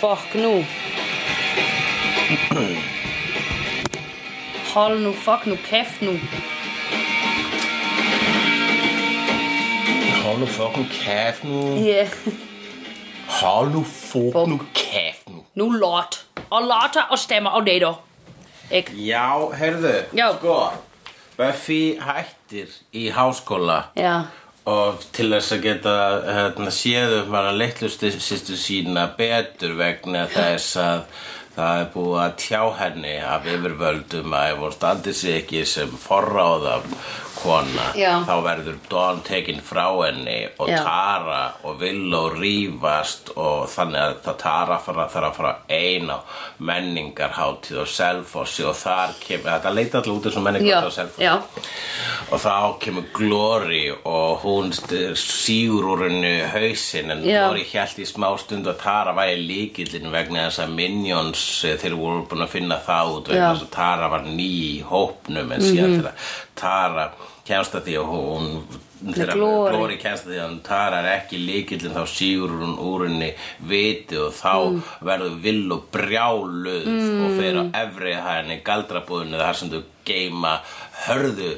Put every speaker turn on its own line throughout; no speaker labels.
Fokk nú Hol nú, fokk nú, keft nú
Hold nu fucking kæft nu.
yeah.
Hold nu fucking kæft nu.
Nú lot Og lotter og stemmer og netter Ikke?
Já, heyrðu,
Já.
sko, Buffy hættir í háskóla
Já
og til þess að geta hérna, séð um hana leitlustu sýstu sína betur vegna þess að það er búið að tjá henni af yfirvöldum að ef hún standi sig ekki sem forráða kona
Já.
þá verður Dawn tekin frá henni og
Já.
Tara og Willow rífast og þannig að það Tara fara, þarf að fara ein á menningarhátíð og selfossi og þar kemur, þetta leita alltaf út eins og
Já,
menningarhátíð og selfossi
já,
og þá kemur Glory og hún st- sígur úr henni hausinn en
Já.
Glory hjælt í smá stund að Tara væri líkillin vegna þess að Minions eh, þeir voru búin að finna það út vegna
Já. Mhm.
þess að Tara var ný í hópnum en síðan þegar Tara kemst að því að hún þegar
Glory.
Glory kemst að því að hún Tara er ekki líkillin þá sígur hún úr henni viti og þá
Mm.
verður vill og brjáluð og fer á efri hæðinni galdrabúðinni þar sem þú geima hörðu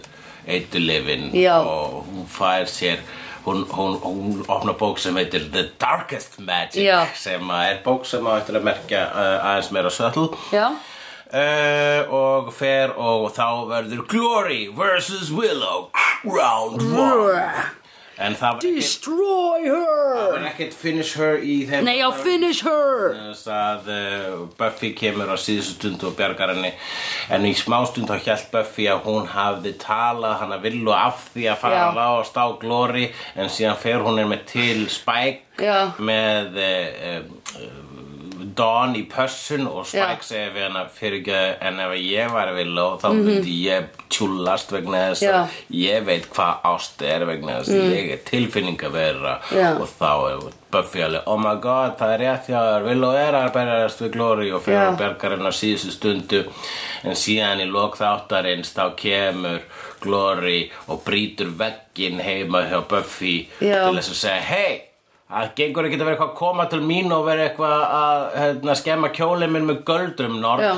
eitulefin
Já.
og hún fær sér hún, hún, hún opnar bók sem heitir The Darkest Magic
Já.
sem að er bók sem á eftir að merkja uh, aðeins meira sötl
já
Uh, og fer og þá verður Glory vs. Willow Round 1 En það var ekkert-
Destroy
það
her
var ekkert finish her í þeim
Nei, já, finish her
þess að uh, Buffy kemur á síðustu stundu og bjargar henni en í smástund þá hjælt Buffy að hún hafði talað hann að villu af því að fara
Já.
að ráðast á Glory en síðan fer hún er með til Spike
Já.
með uh, Dawn í pössun og Spike
Já.
segir við hana fyrir ekki en ef ég var villu þá myndi ég tjúllast vegna þess
Mhm. Já. Mm.
að ég veit hvað ást er vegna þess að ég er tilfinninga vera
Já.
og þá er Buffy alveg oh my god, það er rétt hjá þér Willow er að berjast við Glory og
Já.
fyrir bergarinn á síðustu stundu en síðan í lok þáttarins þá kemur Glory og brýtur veggin heima hjá Buffy
Já.
til þess að segja hei Það gengur ekki að vera eitthvað að koma til mín og vera eitthvað að hérna, skemma kjólið minn með göldrum norð
Já,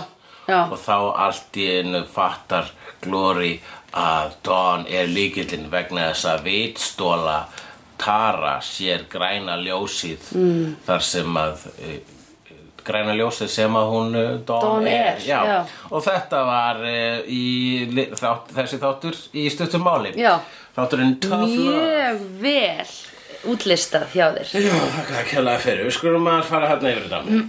já.
og þá allt í einu fattar Glory að Dawn er líkillinn vegna þess að vitstóla Tara sér græna ljósið mm. þar sem að e, e, græna ljósið sem að hún eh, Dawn,
Dawn er,
já.
já.
og þetta var e, í, li- þátt, þessi þáttur í stuttum máli
Já.
þátturinn Tough Love
Mjög vel útlistað hjá þér
Já, þakka að kjallaði fyrir, við skulum að fara hérna yfir þetta
Mm.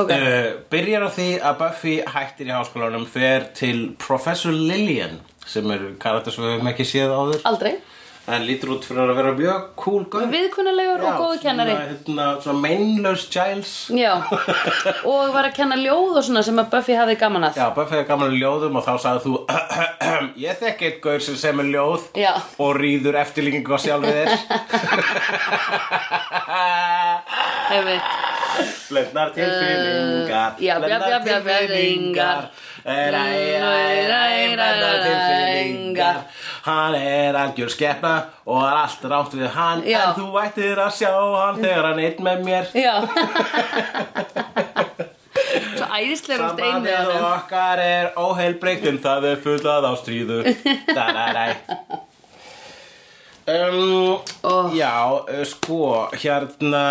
Ok,
uh, Byrjar á því að Buffy hættir í háskólanum fer til Professor Lillian sem er karakter sem við höfum ekki séð áður
aldrei
en lítur út fyrir að vera mjög cool gaur
Viðkunnulegur og góðu kennari
svona, hérna, svona mainless Giles
Já, og var að kenna ljóð og svona sem að Buffy hafði gaman að
Já, Buffy er gaman í ljóðum og þá sagði þú Ég þekki eitt gaur sem semur ljóð
Já.
og rýður eftirlíkingu á sjálfið þér
Einmitt.
Blendnar tilfinningar
Eh, já, já, já, já,
tilfinningar Ræ, ræ, ræ, blendnar tilfinningar Hann er algjör skepna og er allt rátt við hann
Já.
En þú ættir að sjá hann þegar hann er einn með mér
Já Svo æðislega úr steinu
Samanlega okkar er óheilbreykt en það er fullað á stríðu Daræræ Um,
Oh.
Já, eh, sko, hérna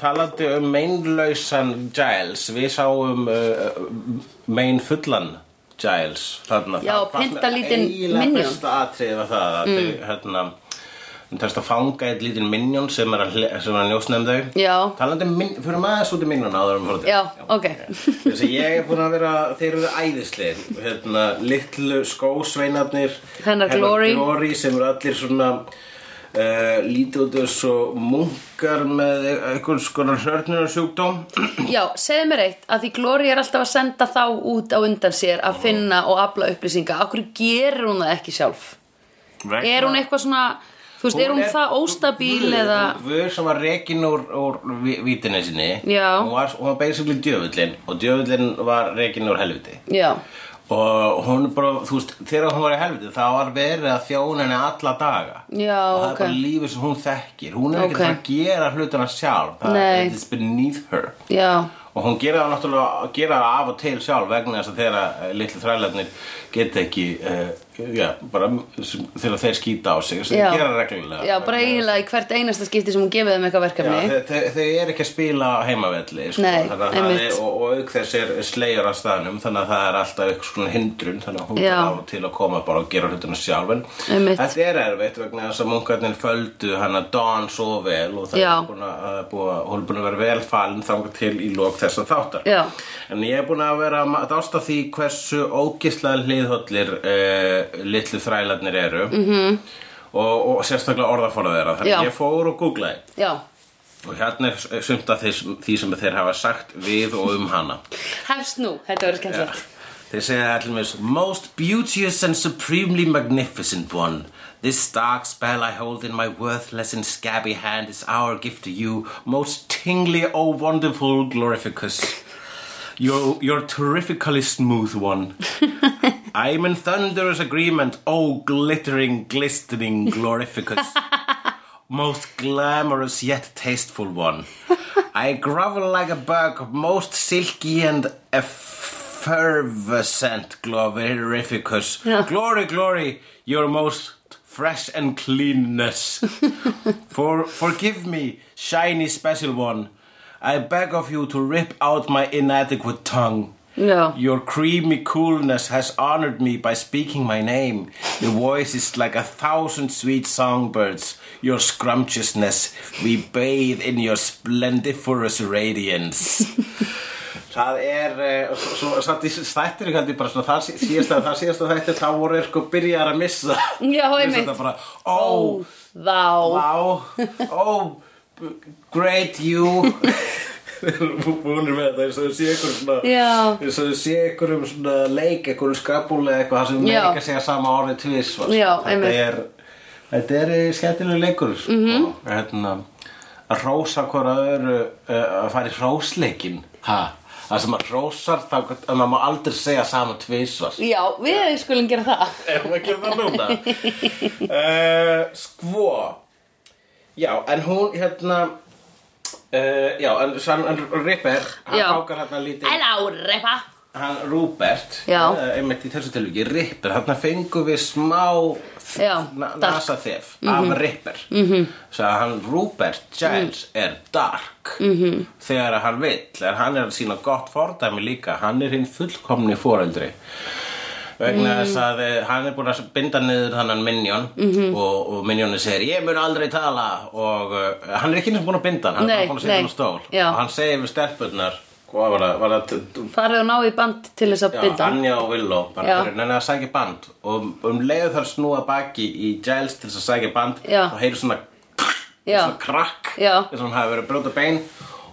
talandi um meinlausan Giles, við sáum uh, mein fullan Giles, þarna
Já,
það fannst mér
pyntalítinn
eiginlega
minion. Mm.
besta atriði var það að þau, hérna hún tæst að fanga eitt lítinn minjón sem er að, hle- sem er að njósna um þau
Já.
talandi um, min- fyrir maður út í minjón áður um fór
Já, ok
Þess að ég er búin að vera, þeir eru æðisleir hérna, litlu skósveinarnir
Hennar Glory.
sem eru allir svona uh, lítið út eins og munkar með einhvers konar hörnunarsjúkdóm
Já, segðu mér eitt að því Glory er alltaf að senda þá út á undan sér að finna og afla upplýsinga Akkur gerir hún það ekki sjálf? Er hún eitthvað svona Þú veist, er hún það óstabíl eða
Guð sem var rekin úr, úr vi- vítinni sinni
Já.
Hún var, hún var basically djöfullin og djöfullin var rekin úr helviti
Já,
Og hún bara, þú veist, þegar hún var í helviti þá var verið að þjóna henni alla daga
Já,
Og það
ok.
er bara lífið sem hún þekkir Hún er ekkert
Ok.
að gera hlutina sjálf Það
Nei.
It's beneath her
já
og hún gera það náttúrulega gera það af og til sjálf vegna þess að þeirra uh, litlu þrælarnir geta ekki uh, já, bara sem, þegar þeir skýta á sig sem
Já.
þeir gera reglulega
Já, bara eiginlega í hvert einasta skipti sem hún gefið þeim eitthvað
Já,
verkefni
þau- þau- þau eru ekki að spila á heimavelli sko,
Nei,
þannig að það
einmitt.
er, og, og auk þess er slegjur á staðnum þannig að það er alltaf eitthvað svona hindrun þannig að hún
Já.
er á til að koma bara og gera hlutuna sjálf en
Einmitt.
þetta er erfitt vegna þess að munkarnir földu hana Dawn svo vel og það
Já.
er búin að, að búa, hún er búin að vera vel falin þangar til í lok þessa þáttar
Já.
en ég er búin að vera að dásta því hversu ógislega hliðhollir uh, litlu þrælarnir eru -hmm. og, og sérstaklega orðaforða þeirra þannig
Mhm. Já.
að ég fór og googlaði
Já,
Og hérna er sumt af þeir, því sem þeir hafa sagt við og um hana.
hefst nú, þetta verður skemmtilegt
Þeir segja allir með Most beauteous and supremely magnificent one This dark spell I hold in my worthless and scabby hand Is our gift to you Most tingly, oh wonderful, glorificus You're, you're terrifically smooth one I'm in thunderous agreement Oh glittering, glistening, glorificus most glamorous yet tasteful one. I grovel like a bug, most silky and effervescent, glorificus.
Yeah.
Glory, glory, your most fresh and cleanness. For forgive me, shiny special one. I beg of you to rip out my inadequate tongue.
Já.
Your creamy coolness has honored me by speaking my name. Your voice is like a thousand sweet songbirds. Your scrumptiousness, we bathe in your splendiferous radiance. Það er, eh, svo, svo, svo, svo þættir ekki heldur bara svona það sí- síðasta, það síðasta þættir, þá voru er sko byrjar að missa.
Já,
Missa
einmitt.
þetta bara, ó,
Vá,
Wow, oh, great you Búnir með þetta eins og þau sé ykkur svona
Já.
eins og þau sé ykkur um svona leik ykkur um skrapulega eitthvað þar sem
Já.
leik að segja sama orðið tvis
Já,
þetta
einmitt. Mhm.
er þetta er eh, skemmtilegur leikur sko. og hérna að rósa hvora öðru uh, að fara í rósleikin ha Það sem maður rósar, þá að maður má aldrei segja sama tvisvar.
já, við skulum gera það
Ef maður gerir það núna uh, Skvo Já, en hún hérna uh, Já, en, en, en Ripper Hann
Já.
fákar hérna lítið
Hello, repa
Hann Rupert
Já.
eh, Einmitt í þessu tilviki Ripper, þarna fengum við smá
Já, dark. Mhm.
Nasa þef Af Ripper -hmm. Svo að hann Rupert Giles
Mhm.
er dark -hmm. Þegar að hann vill En hann er að sína gott fordæmi líka Hann er hinn fullkomni foreldri vegna
Mhm.
þess að eh, hann er búin að binda niður þannan Minion
Mhm.
-hmm. og, og Minionið segir ég mun aldrei tala og uh, hann er ekki eins og búin að binda hann hann
Nei,
er bara búin að setja
nei.
hann á stól
Já.
og hann segir við stelpurnar hvað var það, var það
Farið og náði band til þess að
Já,
binda
Anja og Villó
Já.
bara nenni að sækja band og um- um leiðu þar snúa baki í Giles til þess að sækja band
Já.
þá heyrir svona,
Já.
svona krakk
Já.
þess að hann hafi verið að brjóta bein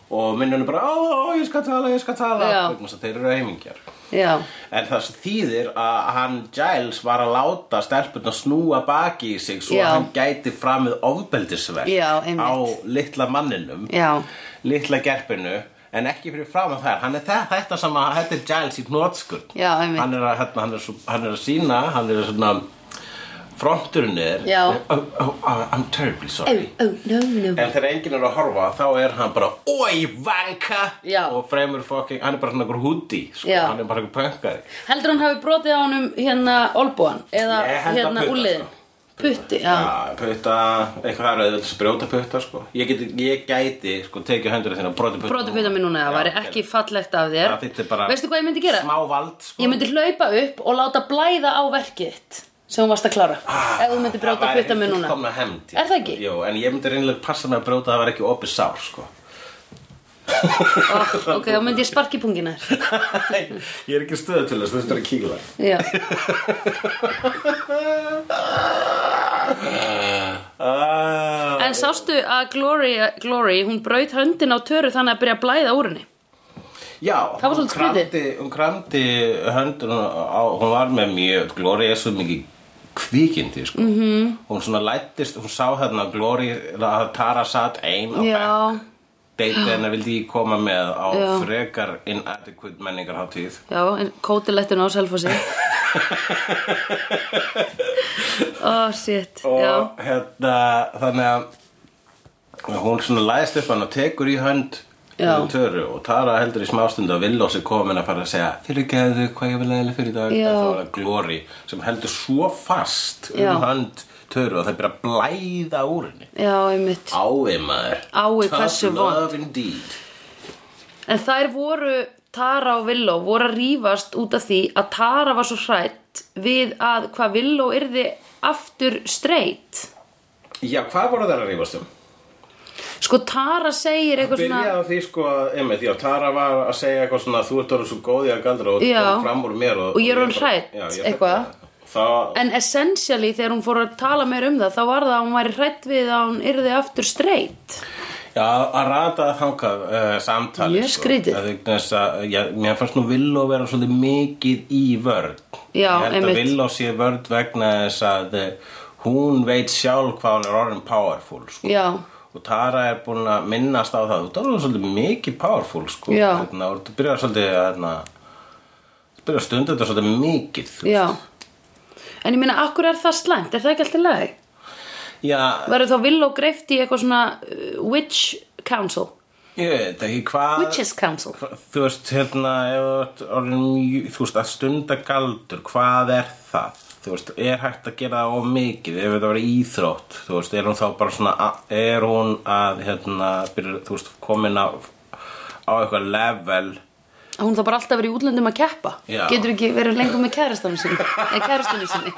og minnum bara, ó, ó, ég skal tala, ég skal tala
Já.
vegna þess að þeir eru heimingjar
Já,
En það sem þýðir að hann Giles var að láta stelpunna snúa baki í sig svo
Já.
að hann gæti framið ofbeldisverk
Já, einmitt.
á litla manninum
Já.
litla gerpinu en ekki fyrir fram að þær hann er það, þetta sem að þetta er Giles í hnótskurn
Já, einmitt.
hann er að, hérna, hann er, svo, hann er að sína hann er að svona fronturinn er
Já.
oh, oh, oh, I'm terribly sorry
oh, no, no
En þegar enginn er að horfa þá er hann bara Oi, vanka
Já.
Og fremur fucking, hann er bara svona einhver húti sko.
Já.
Hann er bara einhver pönkari
Heldur hann hafi brotið á honum hérna olbúan eða
Ég held að
hérna
putta,
úliðin Putti, já,
Já, putta, eitthvað það er auðvitað að brjóta putta sko. ég, geti, ég gæti sko, tekið höndur þína og broti putta
brotið putta mér núna, það væri ekki fallegt af þér
Það þýtti bara-
Veistu hvað ég myndi gera?
Smá vald sko.
Ég myndi hlaupa upp og láta blæða á verkið þitt sem hún varst að klára ef þú myndi brjóta putta mér núna
Ah, Það væri fullkomna hefnd
Er það ekki?
Jú, en ég myndi reynilega passa mig að brjóta það var ekki opið sár sko.
oh, Ok, þá myndi ég sparki pungina þér
Ég er ekki stöðu til þess, þú veist það er að kíla
Já,
Ah.
en sástu að Glory, Glory hún braut höndin á töru þannig að byrja að blæða úr henni
Já,
Það var
hún
svolítið skrítið.
kramdi- Hún kramdi höndun á, hún var með mjög, Gloria er svo mikið kvikindi, sko. Mm -hmm.
Mhm.
Hún svona lættist, hún sá hérna Gloria, að Tara satt ein á
Já.
bekk. Deitið hennar vildi ég koma með á
Já.
frekar inadequate menningarháttíð.
Já, en kótilettin á selfossi Oh, shit
og
Já,
hérna þannig að hún svona læðist upp hann og tekur í hönd
Já.
um Töru og Tara heldur í smástund að Villós er komin að fara að segja fyrirgeðu hvað ég vil aðeins fyrir í dag
Já.
en þá er það Glory sem heldur svo fast
Já.
um hönd Töru að það er bara að blæða úr henni
já, einmitt
Ái maður
Ái,
Tough
hversu
love indeed
En þær voru, Tara og Villó voru að rífast út af því að Tara var svo hrætt við að hvað Villó yrði aftur straight
Já, hvað voru þær að rífast um?
Sko Tara segir eitthvað svona
Byrjaði á því sko að, einmitt, já, Tara var að segja eitthvað svona Þú ert orðið svo góð í að galdra og
Já.
kom fram úr mér Og,
Og ég er orðin
bara-
hrædd,
Já, ég er
eitthvað.
hrædd við það. Það,
En essentially þegar hún fór að tala meir um það þá var það að hún væri hrætt við að hún yrði aftur straight
já, að rata þangað uh, samtali
Mjög skrýtið.
að, þess að, já, Mér fannst nú Villó vera svolítið mikið í vörn
Já,
Ég held
einmitt.
að Villó sé vörn vegna þess að eh, Hún veit sjálf hvað hún er orðin powerful sko.
Já,
og Tara er búin að minnast á það þú talaðu svolítið mikið powerful sko.
Já.
hérna, og þú byrjar svolítið hérna, þú byrjar að stunda þetta svolítið mikið þú-
já En ég meina, akkur er það slæmt? Er það ekki alltaf lagi?
já,
Verður þá Villó greift í eitthvað svona uh, witch council?
ég veit ekki hvað
Witches council?
hva- þú veist, hérna ef þú ert orðin mjög- þú veist, að stunda galdur hvað er það? þú veist, er hægt að gera það of mikið ef þetta var íþrótt þú veist, er hún þá bara svona a- er hún að, hérna, byrja, þú veist, komin á á eitthvað level
Að Hún þá bara alltaf verið í útlöndum að keppa
Já.
Getur ekki verið lengur með kærastanum sinni Nei, kærastunum sinni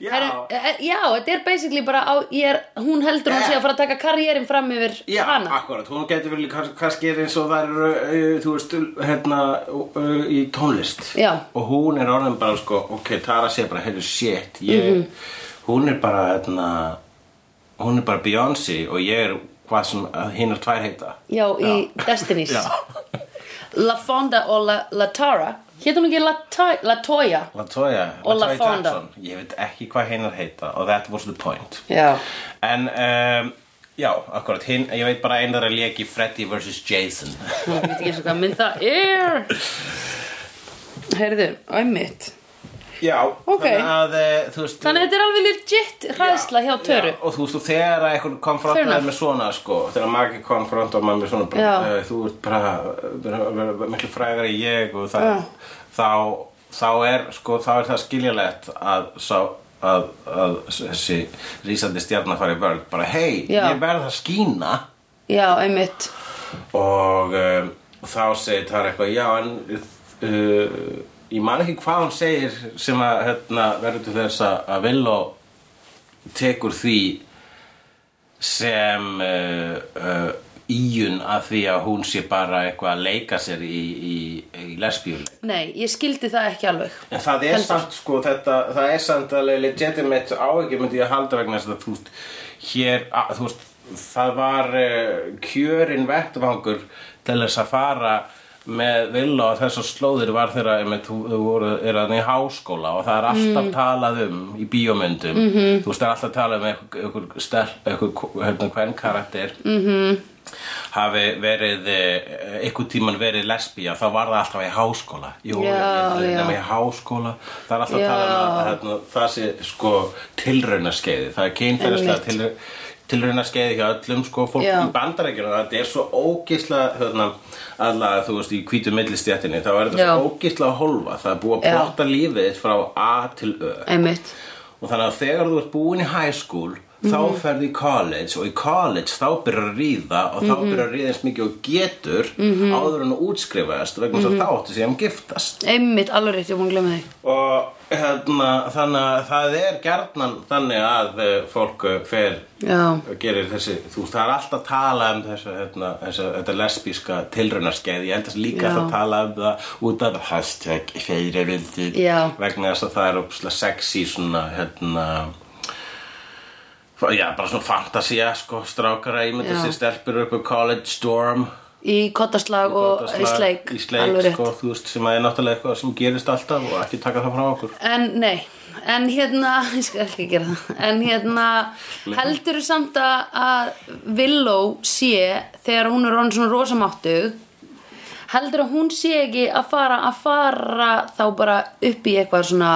já,
Heru, e, Já, þetta er basically bara á, ég er, Hún heldur hún sé að fara að taka karriérin fram yfir
Já,
hana
akkurat, hún getur vel kannski, kannski er eins og það eru, uh, þú veist, hérna uh, í tónlist
Já.
Og hún er orðin bara, sko, ok, Tara sé bara, heyrðu, shit, ég,
Mhm.
hún er bara, hérna, hún er bara Beyoncé og ég er hvað sem hinn er tvær heita
Já, í Destiny's
Já,
La Fonda og La, La Tara Hétt hún ekki La, Ta La Toya?
Latoya,
Og La
Latoya
Fonda.
Jackson, ég veit ekki hvað hinn er heita og that was the point
Já
En, um, já, akkurat, hinn, ég veit bara einar að leki Freddy vs. Jason
Ég veit ekki eins og hvað mynd það er Heyrðu, æmitt
Já,
Ok.
þannig að, eh, þú veist
Þannig að þetta er alveg legit hræðsla hjá Töru
Já, og þú veist, og þegar að einhvern
Fair
konfrontaði
enough.
með svona, sko þegar magi konfrontaði maður með svona bara,
Já.
eh, þú ert bara, bara, bara, bara miklu frægari en ég og það,
Já.
þá, þá er, sko, þá er það skiljalegt að sá að, að þessi rísandi stjarnar fari í vörld bara, hei,
Já.
ég verð að skína
Já, æmitt
og um, þá segir það eitthvað, já, en uh, ég man ekki hvað hún segir sem að, hérna, verður til þess að, að Villó tekur því sem uh, uh, íjun að því að hún sé bara eitthvað að leika sér í, í, í lesbíuleik.
Nei, ég skildi það ekki alveg
En það er
Heldur.
samt sko þetta, það er samt alveg legitimate áhyggjum myndi ég að halda vegna þess að þú veist, hér, að, þú veist, það var uh, kjörin vettvangur til þess að fara með villu og þessar slóðir var þeirra einmitt, þú, þú voru, er að í háskóla og það er alltaf
Mm.
talað um í bíómyndum,
Mhm.
-hmm. þú veist, það er alltaf talað um einhver, einhver, stel, einhver hérna, hvern karakter
Mhm.
hafi verið eh, einhvern tíman verið lesbía þá var það alltaf í háskóla Jú,
Já,
ég-
já.
nema í háskóla það er alltaf
Já.
að tala um að hérna, það sé sko tilraunaskeiði það er kynferðislega
Einmitt.
tilra- tilraunaskeiði hjá öllum sko fólk
Já.
í bandarækjunum þetta er svo ógisla hérna, alla þú veist í hvítu millistjættinni þá er þetta
Já.
svo ógisla að holfa það er búið
Já.
að plotta lífið þitt frá A til Ö
Æmitt
og þannig að þegar þú ert búin í high school
Mhm.
þá ferðu í college og í college þá byrjar að ríða og þá
Mhm.
byrjar að ríða eins mikið og getur áður en að útskrifaðast vegna
Mhm.
þess að þá áttu síðan giftast
Einmitt, alveg rétt, ég er búin að glemma því
og hérna, þannig að það er gjarnan þannig að eh, fólk eh, fer
Já,
gerir þessi, þú veist, það er alltaf að tala um þessu, hérna, þessu, þetta lesbíska tilraunaskeið, ég held að líka
Já.
alltaf að tala um það út af hashtag feyrivildið,
Já.
vegna þess að það er uppslega sexy svona, hérna já, bara svona fantasía, sko, strákara ímynda
Já.
sér stelpur upp á college storm
í kottaslag og í
Kottaslag,
sleik
í sleik,
alveg rétt.
sko, þú veist, sem að er náttúrulega eitthvað sem gerist alltaf og ekki taka það frá okkur
En nei, en hérna, ég skal ekki gera það, en hérna, heldur samt að, að Villó sé, þegar hún er orðin svona rosamáttug, heldur að hún sé ekki að fara, að fara þá bara upp í eitthvað svona,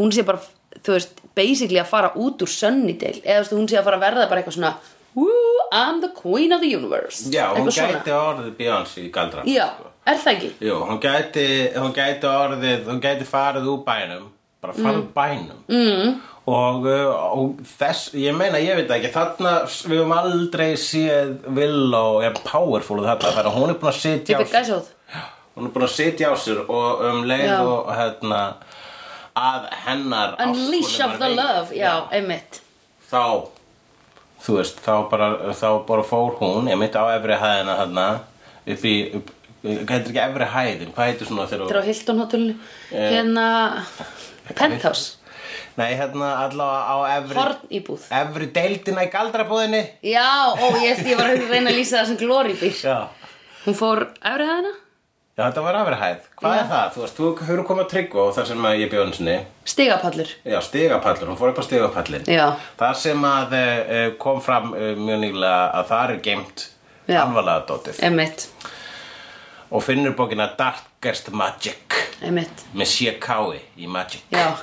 hún sé bara, þú veist, basically að fara út úr Sunnydale, eða þú veist, hún sé að fara að verða bara eitthvað svona Woo, I'm the queen of the universe
Já, hún
Eitthvað svona.
gæti orðið Beyoncé í galdra
Já, er það ekki?
Jú, hún gæti, hún gæti orðið, hún gæti farið úr bænum Bara farið úr bænum mm. og, uh, og þess, ég meina, ég veit ekki Þarna, við höfum aldrei séð Willow, ég er powerful og þetta Þannig að hún er búin að
Ég
sitja á
fikk gæsa
Hún er búin að sitja á sér og um leið
Já.
og hérna Að hennar
Unleash
ástkonu var
of the
veitt.
love, já, einmitt
þá þú veist, þá bara, þá bara fór hún einmitt á efri hæðina þarna upp í, upp, hvað heitir ekki efri hæðin, hvað heitir svona þegar
Þetta er á Hilton hotellinu
Eh,
Hérna, penthouse
nei, hérna allavega á efri
Horn í búð
efri deildina í galdrabúðinni
Já, ó, ég, ég var að reyna að lýsa það sem Glory býr
já,
Hún fór efri hæðina
já þetta var efri hæð, hvað
Já.
er það, þú veist, þú hefur komið að tryggva og þar sem að ég bjóðin sinni
Stigapallur
Já, stigapallur, hún fór upp á stigapallin
Já.
Þar sem að uh, kom fram uh, mjög nýlega að það er geimt
Já.
alvarlega dótið
Einmitt,
og finnur bókina Darkest Magic
einmitt
með CK í Magic
Já,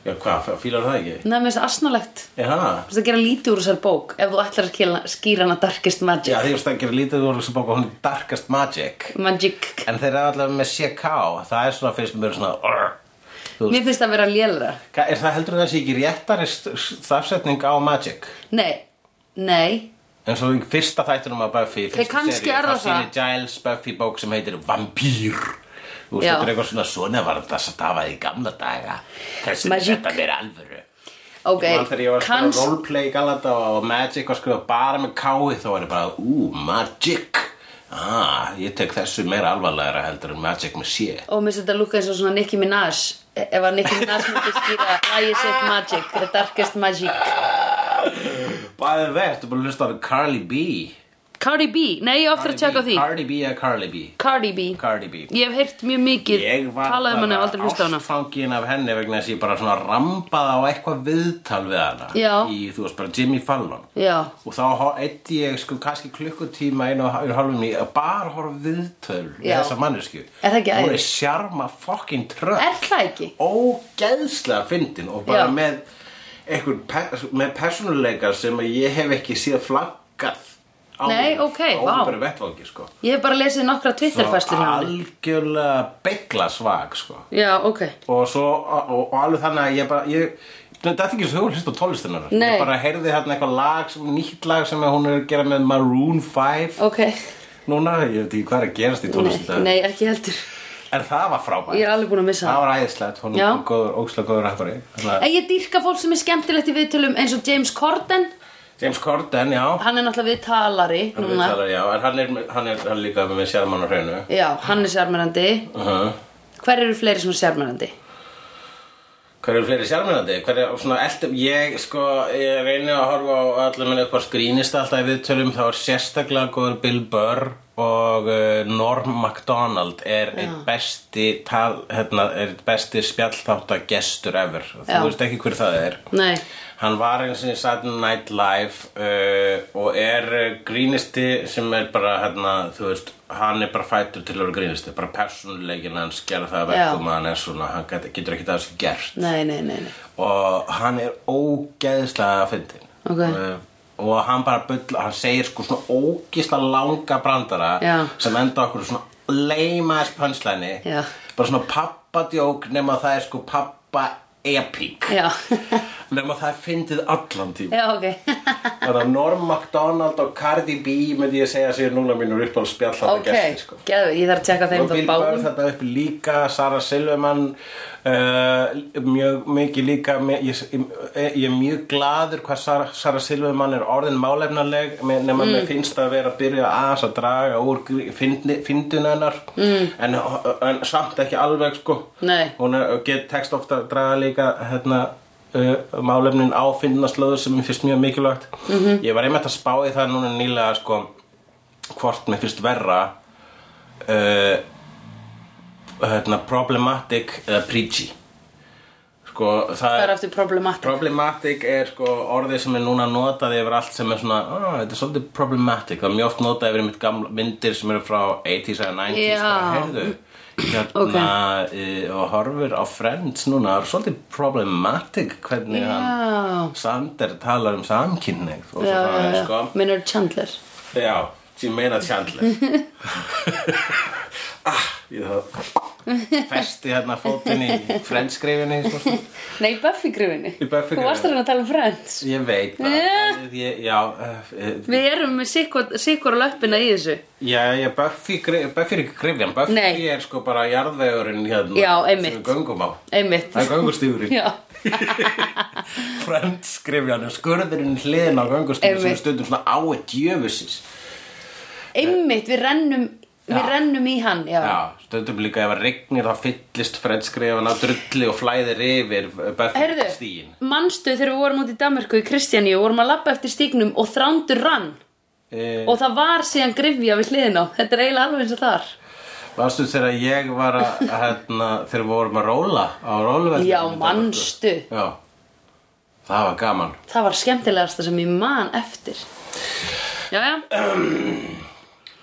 Já, hvað, fílar það ekki?
nefnir þess asnalegt
Já,
Þú veist að gera lítið úr þessar bók Ef þú ætlar að skila- skýra hana Darkest
já
Magic
því að það gerir lítið úr þessu bók og hún er Darkest Magic
Magic
En þeir eru allavega með CK, það er svona fyrst mjög svona "Arr." Þú veist,
Mér finnst það að vera lélra
Hva- er það heldur það sé ekki réttari st- stafsetning á Magic?
Nei, nei
En svo í fyrsta þættinum af Buffy, í fyrstu
kannski
seríu,
er það
þá sýnir
það.
Giles Buffy bók sem heitir Vampýr. Þú veist,
Já.
þetta er eitthvað svona svona var þetta að það var í gamla daga. Þess að
Magic.
þetta verið alvöru.
Ok,
Ég man þegar ég var að
kanns
skrifa roleplay í Galata og Magic var að skrifa bara með kái þá var ég bara, ú, Magic ah, ég tek þessu meira alvarlegra heldur en Magic með sé
Og mér finnst þetta lúka eins og svona Nicki Minaj Ef að Nicki Minaj myndi skýra Lægið sitt Magic, The Darkest Magic
Bæði veit, þú búin að hlusta á Carly B
Cardi B, nei ég á eftir að tjekka á því
Cardi B eða Carly B
Cardi B
Cardi B
Ég hef heyrt mjög mikið
Ég var
talað um hana ef aldrei hlusta á hana
ástfangin af henni vegna þess að ég bara svona rambaði á eitthvað viðtal við hana
Já.
í, þú veist, bara Jimmy Fallon
Já,
og þá eitt ég sko kannski klukkutíma einu og einu halvum í að bara horfa á viðtöl við
Já.
þessa mannesku
Er það ekki
hún er
æði?
sjarma fokkin tröll
er það ekki?
ógeðslega fyndin og bara
Já.
með einhver pe með persónuleika sem að ég hef ekki síðan flaggað á
Nei, ókei, vá.
óbæri vettvangi sko
Ég hef bara lesið nokkra Twitter-fæslur hjá henni
algjörlega begla svag sko
Já, ok
og svo og, og alveg þannig að ég bara ég, þetta er ekki svo hlust á tónlistunar
Nei.
ég bara heyrði hérna eitthvað lag sem, nýtt lag sem hún er að gera með Maroon 5
Ok,
núna, ég veit ekki hvað er að gerast í
nei,
tónlistunar
nei, ekki heldur
en það var frábært
Ég er alveg búin að missa
það
það
var æðislegt, hún
Já.
er góður, ógslag góður rappari Þannig að-
En ég dýrka fólk sem er skemmtilegt í viðtölum eins og James Corden
James Corden, já
Hann er náttúrulega viðtalari
hann
núna
viðtalar, já, en hann er, hann er, hann er líka með Sjarmann á hreinu
Já, hann er sjarmerandi
uh -huh.
Hver eru fleiri svona sjarmerandi?
Hver eru fleiri sjálfmyndandi? Hver er svona eldum? Ég sko, ég reyni að horfa á allar minni upp á skrínist alltaf í viðtölum þá er sérstaklega góður Bill Burr og uh, Norm MacDonald er einn besti tal, hérna, er einn besti spjallþáttagestur ever.
Já.
Þú veist ekki hver það er.
Nei,
Hann var eins og í Saturday Night Live uh, og er uh, grínisti sem er bara, hérna, þú veist, hann er bara fættur til að vera grínisti, bara persónuleikin hans gera það að verkum
Já.
að hann er svona, hann gat- getur ekki það sem gert
nei, nei, nei, nei.
og hann er ógeðslega fyndin
Ok.
uh, og hann bara bulla, hann segir sko svona ógeðslega langa brandara
Já.
sem enda okkur svona leimaðis pönslæni
Já.
bara svona pappadjók nema það er sko pappa epík
Já,
nema það er fyndið allan tíma
já, ok
þannig að Norm MacDonald og Cardi B myndi ég segja sér núna mínur upp á spjallhættu
Ok,
gesti sko
geðu, ég þarf að tjekka þeim
og
það
Bill Burr
báðum
þetta upp líka Sara Silverman uh, mjög mikið líka me- ég, ég, ég er mjög gladur hvað Sara, Sara Silverman er orðin málefnaleg me- nema mm. mér finnst að vera að byrja aðeins að draga úr gr- fyndni- fyndun hennar mm. en, en samt ekki alveg sko
Nei.
hún er- get tekst ofta að draga líka hérna Uh, málefnin á finnaslöður sem mér finnst mjög mikilvægt
Mhm.
-hmm. ég var einmitt að spá í það núna nýlega sko, hvort mér finnst verra Eh, uh, hérna, problematic eða preachy sko, eh, sko, það er
Það er aftur problematic
Problematic er sko orðið sem er núna notað yfir allt sem er svona, ah, þetta er svolítið problematic, það er mjög oft notað yfir mitt gamla myndir sem eru frá 80s eða 90s,
Já.
bara heyrðu, hérna okay. og horfur á Friends núna, það er svolítið problematic hvernig
Já.
hann Sander talar um samkynneigð og svo
Já, já,
það
já.
er sko,
Minn er Chandler
já, sem meina Chandler. ah, ég það, festi hérna fótinn í sko. Friends skrifinni, svo svona.
Nei, Buffy grufinni
Í Buffy
Þú varst
gryfinni.
að tala um Friends
Ég veit það, yeah. ég, já, eh,
Við erum með sikkur, sikkur löppina í þessu
já, já, Buffy, gri- Buffy er ekki grifjan, Buffy
Nei.
er sko bara jarðvegurinn hérna
Já, einmitt.
sem við göngum á.
Einmitt
Það er göngustífurinn.
Já,
Friends grifjan er skurðurinn hliðin á göngustífurinn sem
Einmitt.
er stundum svona ái djöfusins.
einmitt, við rennum Við
Já.
rennum í hann, já,
Já, stundum líka ef að rignir þá fyllist Friends grifjan af drulli og flæðir yfir eh,
Herðu,
Buffy stíin. Herðu.
manstu þegar við vorum út í Danmarku í Kristjaníu og vorum að labba eftir stíknum og þrándur rann
Eh,
og það var síðan grifja við hliðina á Þetta er eiginlega alveg eins og þar
Varstu þegar ég var að, hérna, þegar við vorum að róla á róluveldi?
Já, manstu
Já, það var gaman.
Það var skemmtilegasta sem ég man eftir Jæja,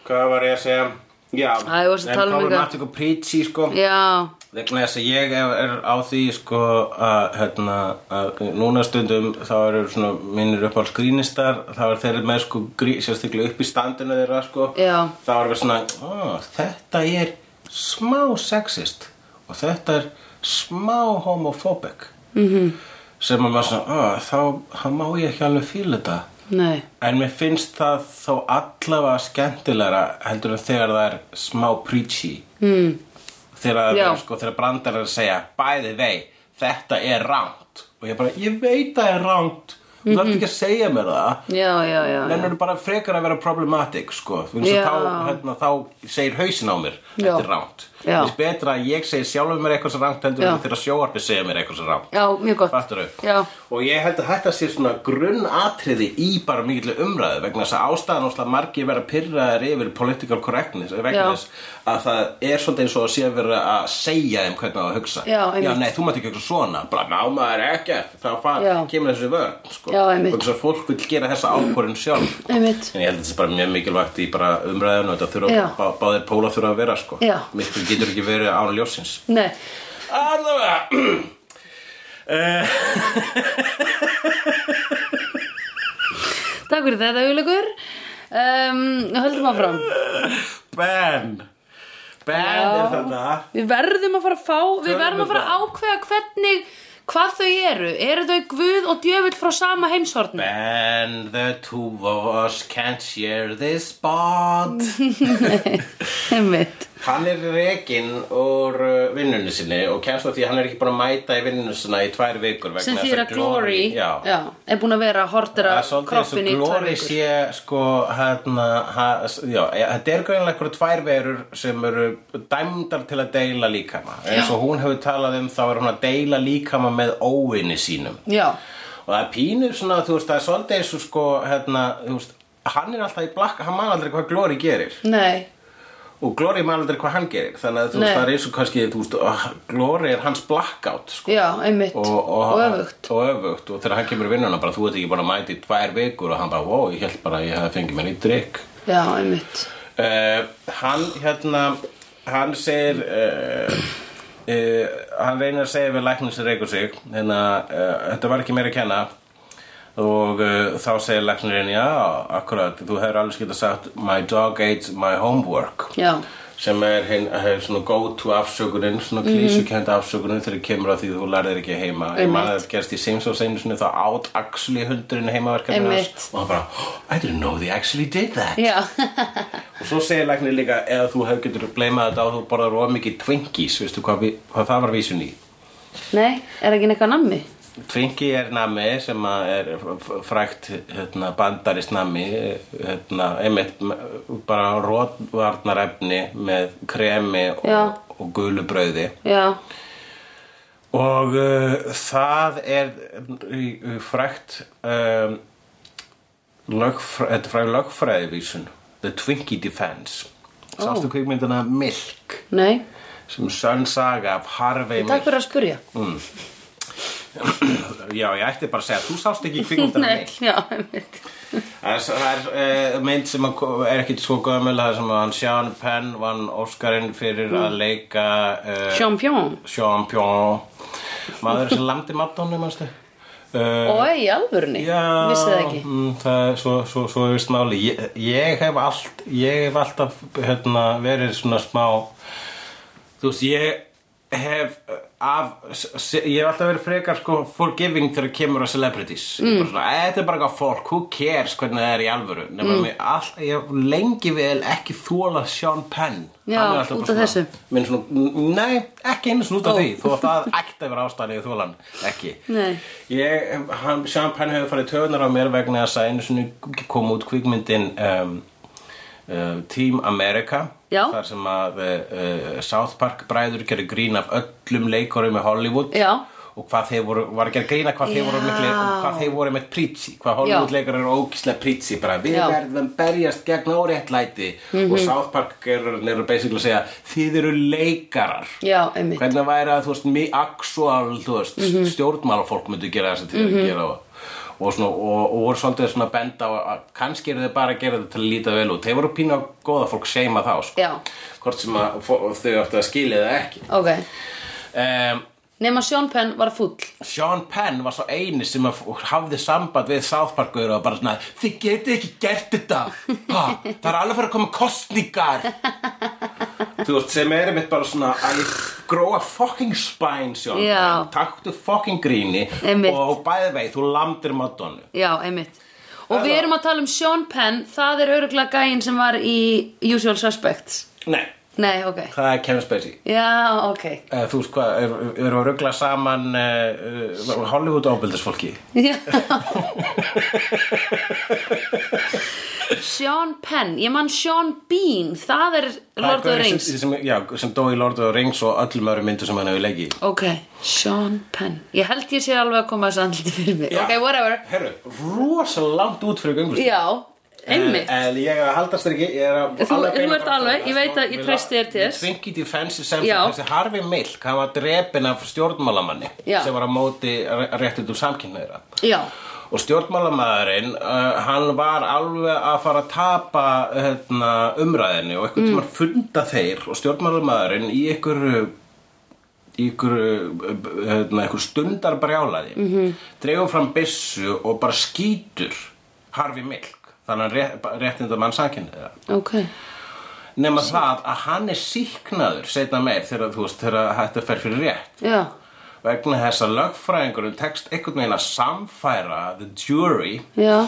Hvað var ég að segja? Já,
Æ, þú varst að tala um eitthvað.
problematic og preachy sko
já,
vegna þess að ég er, er á því sko að hérna að núna stundum þá eru svona minnir upp á skrýnistar þá er þeir með sko grí, sérstaklega upp í standinu þeirra sko
Já.
þá erum við svona "Ó, þetta er smá sexist og þetta er smá homofóbik -hmm. sem að maður svona "Ó, þá, þá má ég ekki alveg fíla þetta
nei
En mér finnst það þó allavega skemmtilegra heldur en þegar það er smá preachy. Mm. Þegar,
Hmm. Já.
það er, sko, þegar brandar er að segja, by the way, þetta er ránt. Og ég bara, ég veit það er ránt. Þú þarf ekki að segja mér það.
Já, já, já, Mhm. já.
Menn eru bara frekar að vera problematic, sko. Þannig
Já.
að þá, hérna, þá segir hausin á mér,
Já.
þetta er ránt.
Já.
Þess betra að ég segi sjálfur mér eitthvað sem ránt heldur
Já.
en þegar sjóarpið segja mér eitthvað sem ránt.
Já, mjög gott
Fattar þau?
Já.
Og ég held að þetta sé svona grunnatriði í bara mikill umræðu vegna þess að ástæðan óslega margir vera pyrraðar yfir political correctness eh, vegna
Já.
þess að það er svolítið eins og að sé að vera að segja þeim hvernig það að hugsa.
Já, einmitt.
nei, þú mátt ekki eitthvað svona, bara má maður ekkert, þá far,
Já.
kemur þessu vörn, sko.
Já, einmitt.
Og þess að fólk vil gera þessa ákvörðin sjálf.
Einmitt
En ég held að þetta er bara mjög mikilvægt í bara umræðinu og þetta þurfa,
Já.
bá, báðir póla þurfa að vera, sko.
Já.
Myrkur getur ekki verið án ljósins.
Nei,
Allavega
takk fyrir þetta auðlegur um, Höldum áfram
Ben Ben
Já.
er þarna
Við verðum að fara að fá Við
Tölum
verðum að fara að ákveða hvernig Hvað þau eru Eru þau guð og djöfull frá sama heimshorni?
Ben, the two of us can't share this spot
Einmitt
Hann er rekinn úr uh, vinnunni sinni og kemst á því að hann er ekki búin að mæta í vinnunni sinna í tvær vikur vegna
Sem
þess
þýr að Glory
Já,
já, Er búin að vera að hortera
Það er svolítið eins og
kroppin í tvær
Glory
vikur.
sé sko hérna, ha, já, ja, þetta er greinlega einhverju tvær verur sem eru dæmdar til að deila líkama eins og hún hefur talað um þá er hún að deila líkama með óvinni sínum
Já,
og það er pínur svona, þú veist, það er svolítið eins og sko, hérna, þú veist, hann er alltaf í blakka, hann man aldrei hvað Glory gerir
nei
og Glory man aldrei hvað hann gerir þannig að þú
Nei.
veist, það er eins og kannski, þú veist, oh, Glory er hans blackout, sko
Já, einmitt
og, og,
öfugt
og öfugt og þegar hann kemur í vinnuna bara, þú ert ekki bara að mæta í tvær vikur og hann bara, wow, ég held bara að ég hef fengið mér í drikk
Já, einmitt
uh, hann hérna hann segir uh, uh, hann reynir að segja við læknir sem reykur sig hérna, uh, þetta var ekki meira að kenna og uh, þá segir læknirinn já, akkurat, þú hefur alveg skilt að sagt my dog ate my homework
Já,
sem er, hin, er svona go-to afsökunin, svona klísukenda afsökunin þegar kemur að því þú lærðir ekki heima ég man að
Mhm. Einmitt.
þetta gerst í Simpsons einu sinni þá át actually hundurinn heimaverkefni
Einmitt.
hans og hann bara, oh, I didn't know they actually did that
já
Og svo segir læknir líka eða þú hefur getur bleimað þetta á þú borðar of mikið Twinkies, veistu hvað, vi- hvað það var vísun í?
Nei, er ekki nekka nammi?
Twinkie er nami sem að er f- frægt hérna, bandarist nami, hérna, einmitt m- bara rótvarnarefni með kremi
Já.
og, og gulubrauði.
Já,
Og uh, það er uh, frægt, um, lögfræ, þetta er frægt lögfræðivísun, The Twinkie Defense. Sástu kvikmyndina Milk?
nei
sem sönn saga af Harvey
Takk fyrir að spurja
Mm. Já, ég ætti bara að segja, þú sást ekki kvikmyndina
Nei,
neitt.
já, einmitt.
Það er, það er uh, mynd sem að ko- er ekkit svo gömul, það er sem að hann Sean Penn vann Óskarinn fyrir að leika uh,
Champjón.
Sean Pion, maður sem landi Madonna, mannstu? Uh,
Ói, í alvörunni.
Já,
Vissi það ekki.
mm, það er svo, svo, svo er vist máli ég, ég, hef allt, ég hef alltaf hérna, verið svona smá þú veist, ég hef uh, af, s- s- ég hef alltaf verið frekar sko forgiving þegar kemur að celebrities mm. bara svona, "Æ, þetta er bara eitthvað fólk, who cares hvernig það er í alvöru nema
Mm.
mér, all, ég hef lengi vel ekki þóla Sean Penn
Já,
Hann er alltaf bara
út af
svona-
þessu.
minn svona, nei, ekki einu svona út af
Ó.
því þó að það ætti að vera ástæðan í þólan ekki
Nei.
ég, hann, Sean Penn hefur farið töðunar á mér vegna þess að einu svona kom út kvikmyndin um, uh, Team America
Já.
þar sem að uh, uh, South Park bræður gerir grín af öllum leikurum í Hollywood
Já.
og hvað þeir voru, var ekki að grína hvað þeir voru
Já.
mikli, hvað þeir voru með prítsi hvað Hollywood leikar eru ógíslega prítsi bara við
Já. Mhm.
verðum berjast gegn óréttlæti og South Park eru, eru basically að segja þið eru leikarar
Já, einmitt. Mhm.
hvernig væri að þú veist mi- actual þú veist, mm stjórnmálafólk myndu gera þess að þið mm gera og, og, svona, og, og voru svolítið svona að benda á að kannski eru þið bara að gera þetta til að líta vel út þeir voru pínu að góða fólk seima þá sko.
Já.
hvort sem að, fó- þau áttu að skilja það ekki
Ok.
um,
Nefn að Sean Penn var fúll.
Sean Penn var svo eini sem að f- hafði samband við South Park Parkur og bara svona, þið getið ekki gert þetta ha, það er alveg fyrir að koma kostningar þú veist, sem er einmitt bara svona að ég gróa fucking spæn Sean
Já.
Penn, taktu fucking gríni
Einmitt.
og bæði vei, þú lamdir Madonna
Já, einmitt. Og
Það
við
var-
erum að tala um Sean Penn, það er öruglega gæinn sem var í Usual Suspects.
nei,
Nei, ok.
það er Kevin Spacey
Já, ok.
Uh, þú veist hvað, er- erum við að ruggla saman uh, uh, Hollywood ábyldisfólki?
Já. Sean Penn, ég man Sean Bean, það er Lord of the Rings.
Sem, já, sem dó í Lord of the Rings og öllum öðrum myndu sem hann hefur leikið í.
Ok, Sean Penn. Ég held ég sé alveg að koma þessu andliti fyrir mig.
Já.
Ok, whatever.
Herru, rosa langt út fyrir göngust
Já, einmitt.
En, en ég haldast þér ekki Ég er að
Þú-
alveg
þú
beina
ert
bara-
alveg, ég veit að ég treysti þér til þess.
Trinky Defense sem
Já.
þessi Harvey Milk Hann var drepin af stjórnmálamanni
Já.
Sem var á móti réttutum samkynnaðira
Já,
Og stjórnmálamæðurinn, uh, hann var alveg að fara að tapa hérna, umræðinni og eitthvað mm. tímar funda þeir og stjórnmálamæðurinn í ykkur, í ykkur, hérna, ykkur stundar brjálaði, mm -hmm. dregur fram byssu og bara skýtur harfi milk, þannig að rétt, réttinda mann sakinni þeirra
ok.
nema það að hann er síknaður setna meir þegar þú veist þegar þetta fer fyrir rétt
Já,
vegna þess að lögfræðingurum tekst einhvern veginn að samfæra the jury
já,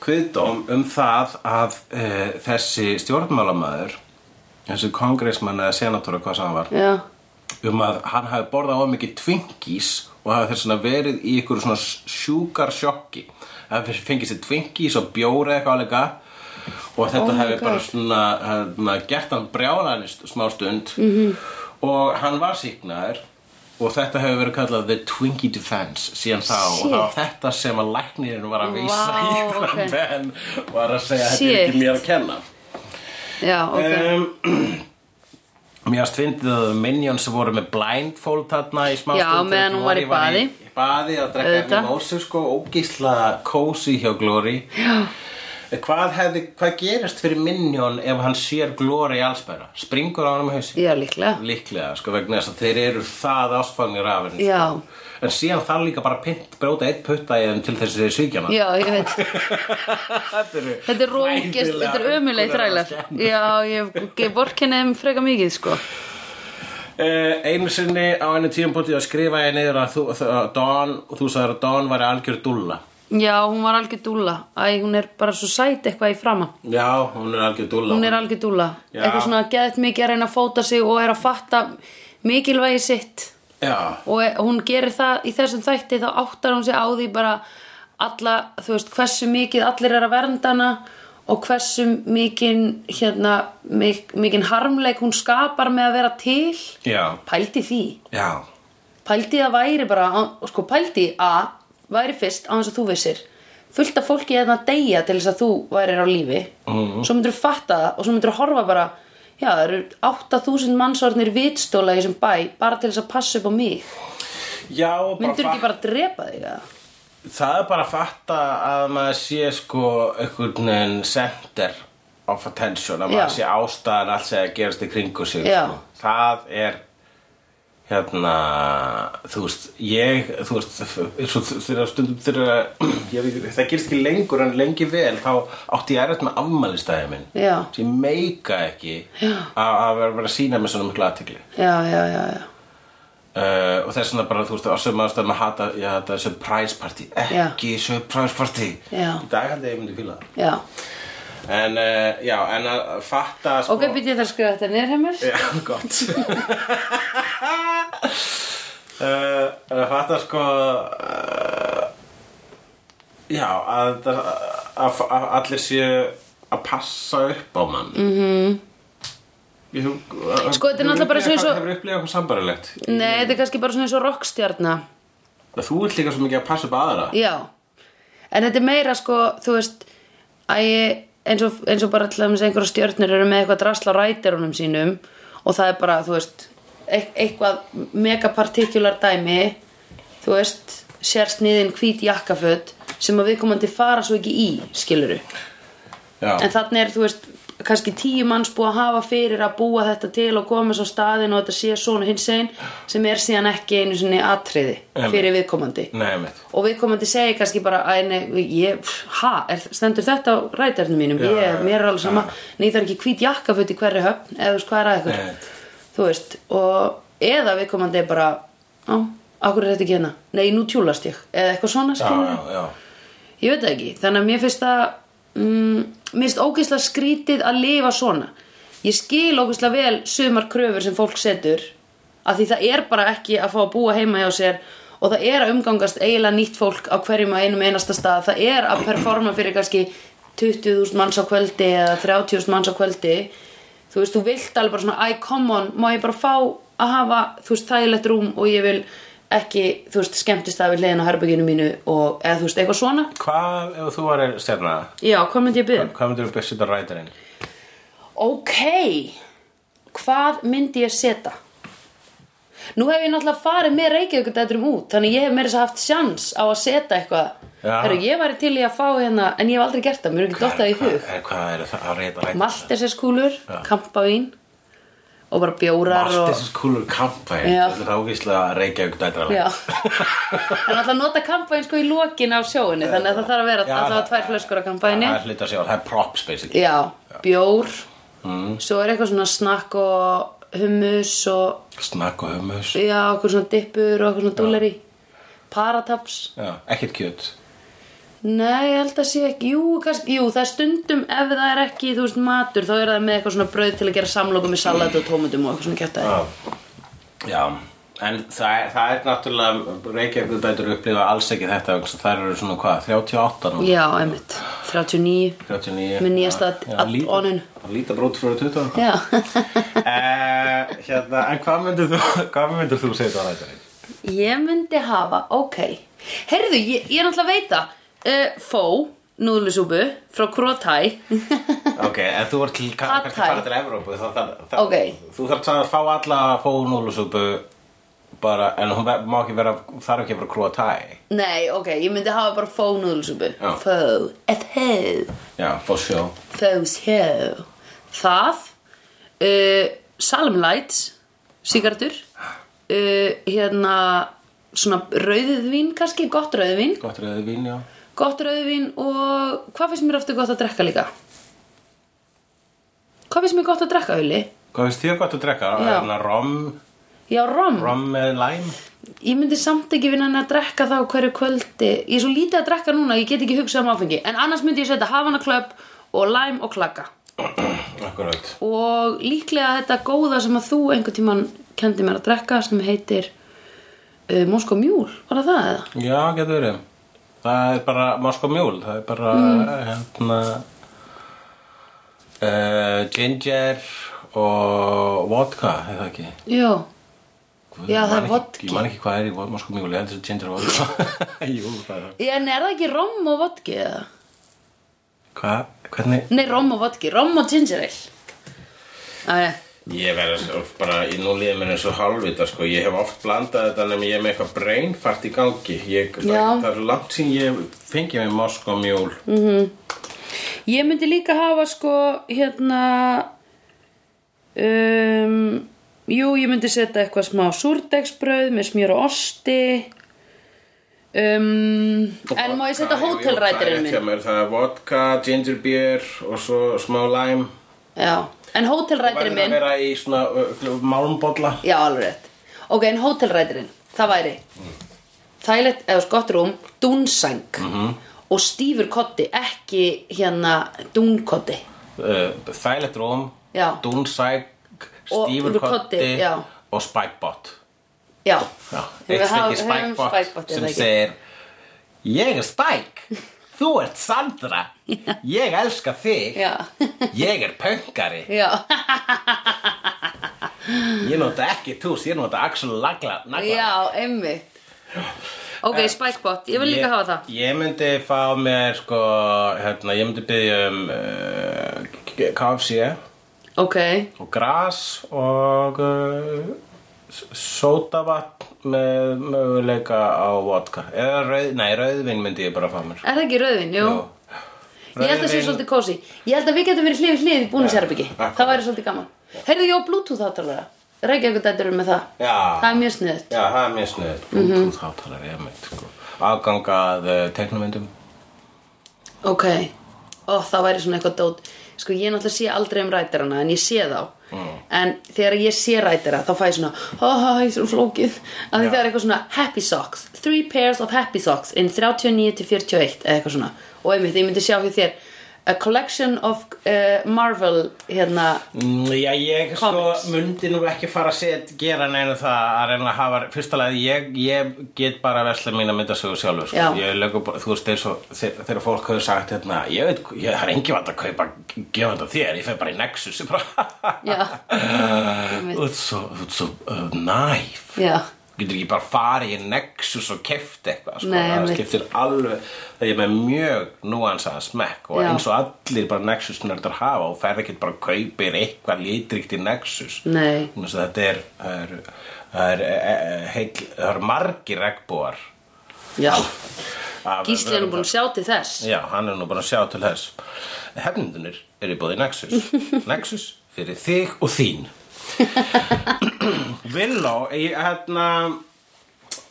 kviðdóm um það að uh, þessi stjórnmálamæður þessi kongressmann eða senatora hvað sem hann var
já.
um að hann hafi borðað á mikið Twinkies og hafi þess að verið í ykkur svona sjúkar sjokki að fengið sér Twinkies og bjóra eitthvað alveg og þetta
Oh my
hafi
God.
bara svona hana, gert hann brjálan smá stund
Mhm.
-hmm. og hann var síknaður og þetta hefur verið kallað The Twinkie Defense síðan þá og
Shit.
það var þetta sem að læknirinn var að vísa
Vá,
í þannig
ok.
menn var að segja þetta er
Shit.
ekki mér að kenna
Já, ok.
um, Mér varst fyndið að Minions voru með blindfold þarna í smá
Já,
stund,
meðan hún var í
Glory
baði.
í baði að
Auðvitað.
drekka mimosu sko ógísla kósi hjá Glory
Já.
Hvað, hefði, hvað gerist fyrir Minion ef hann sér Glory allsbæra? Springur á hann um hausin?
Já, líklega.
Líklega, sko, vegna þess að þeir eru það ástfangir af henni
Já.
sko. En síðan þarf líka bara pynt, bróta eitt putta í þeim til þess að þeir svíkja hana
Já, ég veit.
Þetta eru
Þetta er rókist,
hræðilega
þetta er ömuleg þrælar.
umhverfiskennd.
Já, ég vorkenni þeim freka mikið, sko.
Uh, einu sinni á einu tímpúti að skrifa ég niður að, þú, að Don, þú sagðir að Don væri algjör dúlla
Já, hún var algjör dúlla. Æ, hún er bara svo sæt eitthvað í framann.
Já, hún er algjör dúlla
hún er algjör dúlla
Já.
eitthvað svona geðt mikið að reyna að fóta sig og er að fatta mikilvægi sitt
Já,
og e- hún gerir það í þessum þætti þá áttar hún sig á því bara alla, þú veist, hversu mikið allir er að vernda hana og hversu mikinn hérna, mik mikinn harmleik hún skapar með að vera til
já,
pældi því
já
pældi að væri bara, á- og sko pældi að væri fyrst á hans að þú vissir fullt af fólki hérna að deyja til þess að þú værir á lífi mm. svo myndir þú fatta það og svo myndir þú horfa bara já, það eru 8000 mannsvarnir vitstólagi sem bæ bara til þess að passa upp á mig
Já, og bara
Myndur ekki
fatta-
bara drepa þig eða?
Það er bara að fatta að maður sé sko einhvern veginn center of attention að maður
Já.
sé ástæðan allt sem er að gerast í kringu sig
Já.
sko. það er hérna þú veist, ég þú veist, eins og þegar stundum þegar ég, veit ekki, það gerist ekki lengur en lengi vel þá átti ég erfitt með afmælistæði minn
Já.
sem ég meika ekki Já. að, að vera, vera að sína með svona miklu aðtikli
Já, já, já, já.
Uh, og þess vegna bara, þú veist, á sömu aðstæðum að hata, ég hata surprise party ekki surprise party
Já.
í dag held ég að ég myndi fíla það
já.
en, uh, já, en að fatta sko,
Ok, býtti ég þarf að skrifa þetta niður hjá mér.
já, gott uh, en að fatta sko uh, já, að, að, að, að allir séu að passa upp á mann mm -hmm. Ég,
Mhm. Sko, þetta er náttúrulega bara svo eins og-
Hefur upplifað eitthvað sambarilegt?
Nei, þetta er kannski bara svona eins og rockstjarnar.
Þú ert líka svo mikið að passa upp á aðra
Já, en þetta er meira sko, þú veist, að ég, eins og, eins og bara til dæmis einhverja stjörnur eru með eitthvað drasla rætirunum sínum og það er bara, þú veist, eit- eitthvað megapartikular dæmi, þú veist, sérsniðin hvít jakkaföt sem að viðkomandi fara svo ekki í, skiluru.
Já.
En þannig er, þú veist, kannski tíu manns búið að hafa fyrir að búa þetta til og koma svo staðin og þetta sé svona hins einn sem er síðan ekki einu sinni atriði
Einmitt.
fyrir viðkomandi
Nei, mitt.
og viðkomandi segi kannski bara að nei, ég, pff, ha, er, stendur þetta á rætarnum mínum,
Já,
ég, mér er alveg sama
já.
nei, það er ekki hvít jakkaföt í hverri höfn eða þú veist hvað er að ykkur,
Nei.
þú veist og eða viðkomandi er bara á, akkur er þetta ekki hérna, nei, nú tjúlast ég eða eitthvað svona
Já,
skilur
já, já.
ég veit það ekki, þannig að mér finnst það mm, mér finnst ógeðslega skrítið að lifa svona ég skil ógeðslega vel sumar kröfur sem fólk setur af því það er bara ekki að fá að búa heima hjá sér og það er að umgangast eiginlega nýtt fólk á hverjum og einum einasta stað það er að performa fyrir kannski 20.000 manns á kvöldi eða 30.000 manns á kvöldi þú veist, þú vilt alveg bara svona, æ, come on, má ég bara fá að hafa, þú veist, þægilegt rúm og ég vil ekki, þú veist, skemmtist að við hliðin á herbygginu mínu og, eða þú veist, eitthvað svona
Hvað ef þú varir stjarna?
Já, hvað myndi ég um? byrja?
Hvað myndir þú byrja setja rætarinn?
Ok, hvað myndi ég setja? Nú hef ég náttúrulega farið með Reykjavíkur dætturum út, þannig ég hef meira þess að haft sjans á að setja eitthvað.
Já.
Herru, ég væri til í að fá hérna, en ég hef aldrei gert það, mér er ekki dottað í hug.
Hvað, Eh, hvað er það að reyta rætarinn?
Malteserskúlur,
Já.
kampavín og bara bjórar og...
Maltis kúlur kampa
Já.
Þetta er ágíslega að reykja ykkur dætrar
Já, það er alltaf að nota kampavín sko í lokin á sjóinu þannig að það þarf að vera
Já,
alltaf
það-
tvær flöskur á kampavíni
Það er hluta sjálf, það er props basically
Já, bjór svo er eitthvað svona snakk og hummus og
Snakk og hummus
já, okkur svona dippur og okkur svona dúleri parataps,
Já, ekkert kjöt
nei, ég held að sé ekki jú, kannski, jú, það er stundum ef það er ekki, þú veist, matur, þá er það með eitthvað svona brauð til að gera samlokum með salat og tómatum og eitthvað svona kjartaði
Já, Já. En það er, það er náttúrulega Reykjavík dætur upplifa alls ekki þetta vegna þess að Það eru svona hvað, 38 núna?
Já, einmitt, 39
39
Með nýjasta
Já,
add-
líta-
oninu.
Líta brót fyrir 20
Já,
Eh, hérna, en hvað myndir þú hvað myndir þú setja á rætarinn?
ég myndi hafa, ok Heyrðu, ég, ég er náttúrulega að veita uh, Fó, núðlusúpu frá Krotai
ok, en þú ert til
Pad
kann- kannski
thai.
að fara til Evrópu þá, það, það,
Ok.
þú þarf að fá alla fónúlusúpu bara, en hún ver- má ekki vera þarf ekki að vera krúa tæ
Nei, ok, ég myndi hafa bara fónúðulsúpu
Já.
Fó, ef hó,
já, fó sjó
fós hó Það uh, Salmlight Sigardur uh, Hérna Svona rauðvín kannski, gott rauðvín
gott rauðið vín, já
Gott rauðvín og Hvað finnst mér aftur gott að drekka líka? Hvað finnst mér gott að drekka, Uli?
hvað finnst þér gott að drekka?
Já.
Hérna, rom,
Já, rom
rom með lime
Ég myndi samt ekki vinna henni að drekka þá hverju kvöldi Ég er svo lítið að drekka núna, ég get ekki hugsað um áfengi En annars myndi ég setja hafana klöpp og lime og klaka
akkurat
Og líklega þetta góða sem að þú einhvern tímann kendi mér að drekka sem heitir uh, Moskó Mjúl, var það það eða?
já, getur verið það er bara moskó mjúl það er bara,
Mm.
hérna uh, ginger og vodka, er það ekki?
Jú,
Guð,
Já,
ég
það er
man ekki-
vodki.
Ég man ekki hvað er í vodka, sko mjög leðan þessu ginger vodka Jú, það er
en er það ekki rom og vodki eða?
Hvað, hvernig?
Nei, rom og vodki, rom og ginger ale Æ,
Ég verður bara, ég- nú líður mér eins og halvvita sko, ég hef oft blandað þetta nema ég er með eitthvað brainfart í gangi ég,
Já.
það er langt sín ég fengi mig mosk og mjól
Ég myndi líka hafa sko hérna um, Jú, ég myndi setja eitthvað smá súrdegsbrauð með smjör og osti um, En má ég setja hótelrætirinn minn?
minn? Það er vodka, ginger beer og svo smá lime
Já, en hótelrætirinn
Verður að
minn
vera í svona uh, málmbolla
Já, alveg rétt Ok, en hótelrætirinn, það væri Þægilegt, eða sko gott rúm, dúnsæng
Mhm.
Og stífur kotti, ekki hérna dúnkotti
uh, Þægilegt rúm,
Já.
dúnsæk,
Og-
stífur
og
kotti,
koddi, já.
og spækbott
Já,
Já,
Við
eitt
hafa-
stykki
höfum
spækbott
spækbott,
sem
eða ekki?
segir Ég er spæk, þú ert Sandra, ég elska þig,
Já.
ég er pöngari,
já
ég nota ekki tús, ég nota axel lagla, nagla.
Já, einmitt Ok, spikebot, ég vil líka hafa það
Ég myndi fá mér, sko, hérna, ég myndi byggja um uh, KFC
Ok,
og gras og uh, sótavatn með möguleika á vodka. Eða rauð, nei, rauðvin myndi ég bara fá mér. sko.
er það ekki rauðin, jú? Ég held að það sé
Rauðvín-
svolítið kósi Ég held að við getum verið hlið við hlið í búnisherbyggi
akkurat.
Það væri svolítið gaman Heyrðu ég á Bluetooth áttalara Reykjavík dættur með það
Já.
Það er mjög sniðut
Já, það er mjög sniður.
Mhm.
Bluetooth hátalar, ég meitt, sko. Aðgang að uh, teknumyndum.
Ok, ó það væri svona eitthvað dót Sko ég náttúrulega sé aldrei um rætirana En ég sé þá En þegar ég sé rætira þá fæ ég svona Ó, það er svo flókið Af
Já.
því það er eitthvað svona happy socks Three pairs of happy socks In 39 til 41 Eða eitthvað svona Og einmitt, ég myndi sjá hér þér A collection of uh, Marvel Hérna
Mm, já, ég
Comics.
sko mundi nú ekki fara að set, gera neina það að reyna að hafa, fyrsta lagi, ég, ég get bara vesla mína myndasögu sjálfur, sko.
Já.
Ég lögur bara, þú veist, eins og þegar þegar fólk hefur sagt hérna, ég veit, ég það er engi vant að kaupa gefandi af þér, ég fer bara í Nexus, ég bara,
Já,
þú ert svo, þú ert svo uh, næf.
já,
getur ekki bara farið í Nexus og keft eitthvað sko.
Nei,
það
einmitt.
skiptir alveg það er með mjög núansaða smekk og
Já.
eins og allir bara Nexus nördar hafa og ferð ekki bara kaupir eitthvað litrikt í Nexus
nei
Þannig að þetta er það er, það eh, er, er, heil, það er margir regnbúar
Já,
af
Gísli er nú
vörum
búin að
þar.
sjá til þess
Já, hann er nú búin að sjá til þess Hefnundunir eru búið í Nexus Nexus fyrir þig og þín Villó í, hérna,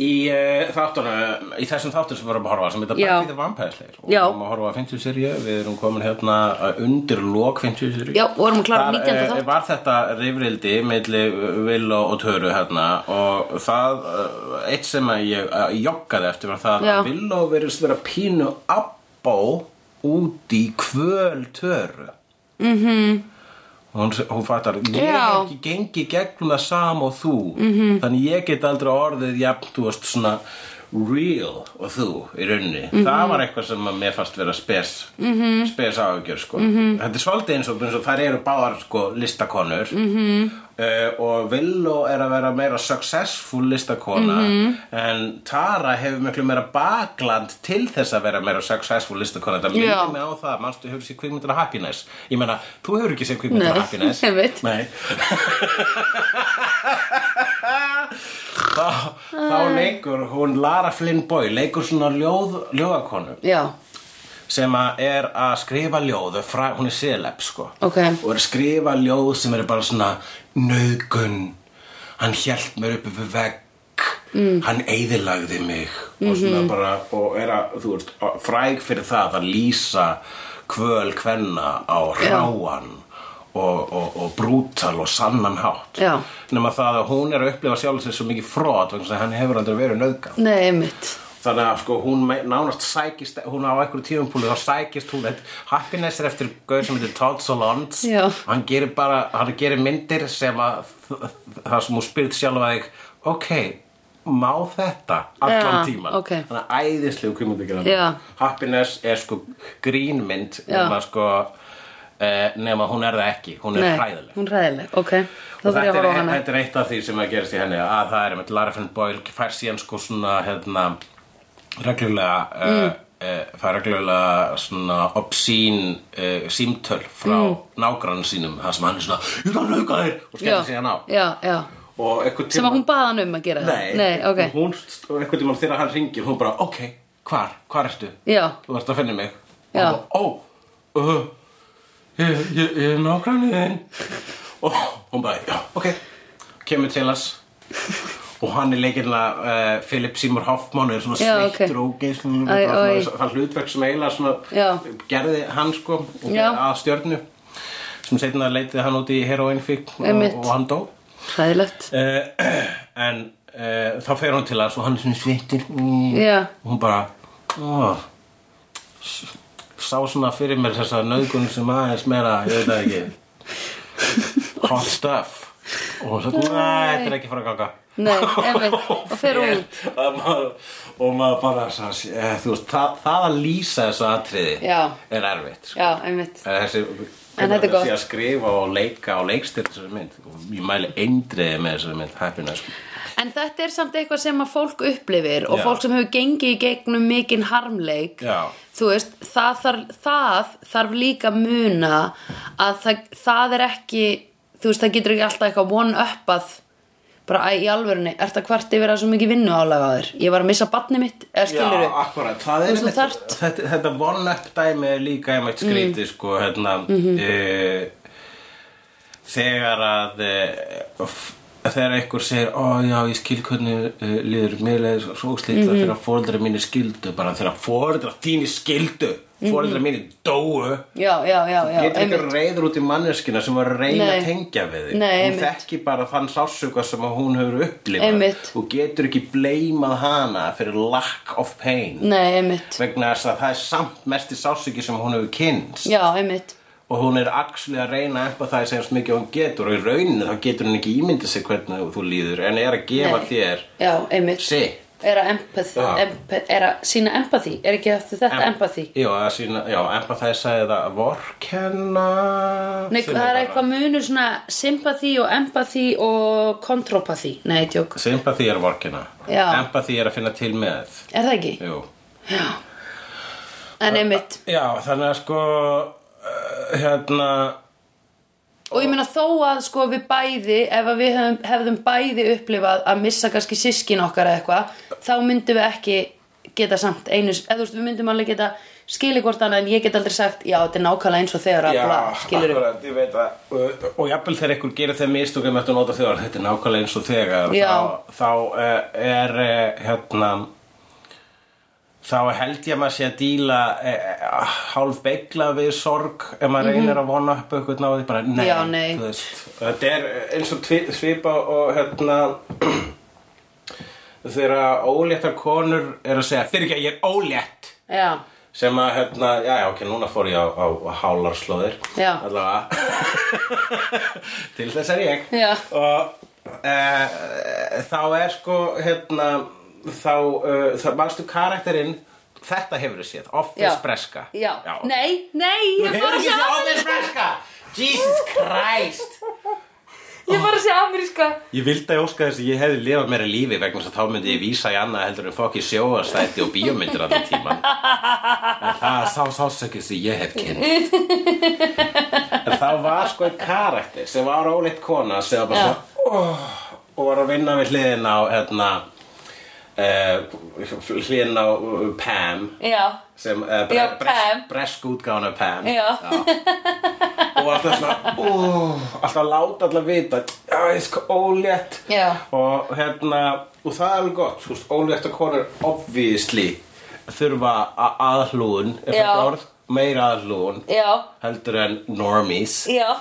í, uh, þáttunum, í þessum þáttunum sem við erum að horfa sem þetta
Já.
bætið vampæðisleir og við
Já.
erum að horfa að 50 serju við erum komin hérna uh, undir lok 50 serju
Já, vorum að klára 19.
eh,
þátt.
var þetta rifrildi milli Villó og Töru hérna og það uh, eitt sem að ég uh, joggaði eftir var það
Já.
að Villó verðist vera pínu abbó út í kvöl Töru Og hún, hún fattar, ég
Mhm. Já.
hef ekki gengi gegnum það sam og þú -hmm. þannig ég get aldrei orðið jafn, þú veist svona real og þú í rauninni það var eitthvað sem að mér fast vera spes mm -hmm. spes áhugjör sko -hmm. þetta er svolítið eins og, eins og þær eru báðar sko listakonur mm -hmm. og Villó er að vera meira successful listakona en Tara hefur miklu meira bakland til þess að vera meira successful listakona þetta
Já.
minnir mig á það, manstu hefur sér kvikmyndina happiness ég meina, þú hefur ekki sér kvikmyndina Nei,
Nei,
happiness
ég veit.
Nei þá, þá leikur hún Lara Flynn Boy leikur svona ljóð, ljóðakonu
Já,
sem að er að skrifa ljóð fra, hún er seleb sko
Ok.
og er að skrifa ljóð sem er bara svona nöðgun hann hjælt mér upp við vegg mm. hann eyðilagði mig og
Mhm.
svona bara og er að, þú veist, að- fræg fyrir það að lýsa kvöl kvenna á hráan og, og, og brútal og sannan hátt
Já.
nema það að hún er að upplifa sjálf sér svo mikið frot vegna þess að hann hefur aldrei verið nöðgan
nei, einmitt
þannig að sko hún me- nánast sækist hún á einhverju tífumpúli þá sækist hún þetta- happiness er eftir gauð sem heitir Todd Solondz
Já.
hann gerir bara, hann gerir myndir sem að það sem hún spyrir sjálf að þig ok, má þetta allan
Já,
tíman
ok.
þannig að æðislegu kvimundu
Já.
happiness er sko grínmynd
Já.
nema sko eh, nema hún er það ekki, hún er
Nei,
hræðileg
hún er hræðileg, ok Þá
og
þarf
þetta er,
ég að
e-
horfa á hana
þetta er eitt af því sem að gerast í henni
Mm.
að það er með Lara Finn Boyle fær síðan sko svona hérna reglulega uh, faraglöflega svona obscene uh, símtöl frá mm. nágrann sínum þar sem hann er svona, ég þarf að nauka þér og
já,
skemmtir sig hann Hérna á
já, já
og eitthvað
sem að hún baða hann um að gera
Nei,
það Nei ok
hún, og einhvern tímann þegar hann ringir hún bara, ok, hvar, hvar ertu?
Já.
Þú ert að finna mig
Já.
og hún bara, ó, uh, ég, ég, ég er nákvæmni þinn og hún bara, já, ok kemur til hans og hann er leikirna uh, Philip Seymour Hoffman er svona
Já, ok.
sveittur og geislum
Æ, æ.
það hlutverk sem eiginlega svona
Já.
gerði hann sko og
Já.
að stjörnu sem setna leitið hann út í heroinfík
Einmitt.
og hann dó
Hræðilegt
uh, en uh, þá fer hún til hans og hann er svona svittur mm,
Já.
og hún bara ó, s- sá svona fyrir mér þessa nöðgun sem aðeins meira ég veit það ekki hot stuff og hún sagði, næ, þetta er ekki fara að ganga
Nei, einmitt, og fer
Ég-
út.
að maður- og maður bara sá, eh, þú veist, það, það að lýsa þessu atriði
Já.
er erfitt sko.
Já, einmitt
en þessi
En þetta er gott.
þessi að skrifa og leika og leikstýra þessari mynd og ég mæli eindriði með þessari mynd happiness sko.
En þetta er samt eitthvað sem að fólk upplifir og
Já.
fólk sem hefur gengið í gegnum mikinn harmleik
Já.
þú veist, það þarf, það þarf líka muna að það, það er ekki þú veist, það getur ekki alltaf eitthvað one up að bara æ, í alvörunni, ert að kvart yfir að svo mikið vinnu álega þér ég var að missa barni mitt, eða skilur
Já, akkurat, það
Þú
er
veist, þú
einmitt-
þarft-
þetta, þetta one-up dæmi er líka einmitt skrítið sko, hérna mm
Mhm.
þegar að uh, þegar einhver segir, ó já, ég skil hvernig uh, líður mér leður svo slítið
Mhm.
þegar fóreldra mínir skildu, bara þegar fóreldra þínir skildu,
Mhm.
fóreldra mínir dóu
já, já, já, já,
getur ekki
einmitt
reyður út í manneskina sem var að reyna
Nei.
að tengja við þig
Nei,
hún
einmitt.
þekki bara þann sásuga sem að hún hefur upplifað
Einmitt.
og getur ekki bleimað hana fyrir lack of pain
Nei, einmitt,
vegna þess að það er samt mesti sásugi sem hún hefur kynst
já, einmitt
og hún er axli að reyna upp að það sem eins mikið og hún getur og í rauninu þá getur hún ekki ímyndið sig hvernig þú líður en er að gefa
Nei.
þér
Já, einmitt
sitt
Er að empath,
Já.
emp, er að sína empathy er ekki eftir þetta empathy
já, að sína, já, empathy eða vorkenna
Nei,
sem
það er
bara-
eitthvað munur svona sympathy og empathy og kontropathy Nei, tjók,
Sympathy er vorkina
Já.
Empathy er að finna til með
er það ekki?
Jú.
Já En einmitt
Já, þannig að sko uh, hérna
Og ég meina þó að sko við bæði ef að við hefðum, hefðum bæði upplifað að missa kannski sískin okkar eða eitthvað þá myndum við ekki geta samt einu, eða þú veist við myndum alveg geta skili hvort annað en ég get aldrei sagt já þetta er nákvæmlega eins og þegar að bla, skilur við
akkurat, ég veit að og, og jafnvel þegar einhver gerir þeim mistök um þetta nota þegar þetta er nákvæmlega eins og þegar
Já.
þá, þá uh, er uh, hérna þá held ég að maður sé að díla uh, hálf beigla við sorg ef maður reynir að vona upp eitthvað náði bara nei,
Mhm. Já, nei.
þú veist þetta er eh, eins og tvi- svipa og hérna þegar óléttar konur er að segja fyrir ekki að ég er ólétt
Já,
sem að hérna, já já ok, núna fór ég á, á, á hálarslóðir
Já.
allavega til þess er ég
Já.
og e, þá er sko hérna, þá, uh, þá manstu karakterinn þetta hefur þú séð,
já
Office Breska
Já, nei, nei,
þú
ég
hefur
fór að
ekki séð
segja
Office Breska Jesus Christ
Ég var að segja ameríska
Ég vildi að óska þess að ég hefði lifað meira lífi vegna þess að þá myndi ég vísa í annað heldur en fokki sjóastætti og bíómyndir allan tíman en það er sá sásökið sem ég hef kynnt En það var sko einn karakter sem var óleitt kona sem var bara
Já.
svona oh, og var að vinna við hliðin á hérna uh, hliðin á eh, Pam
Já,
sem uh, bre,
Já, Pam.
bres, bresk útgána Pam
Já.
og var alltaf svona ó, alltaf láta alltaf vita já, ég sko ólétt
Já.
og hérna, og það er alveg gott þú veist, óléttar konur obviously þurfa a- aðhlúun er
Já.
þetta orð, meira aðhlúun
já,
heldur en normies
já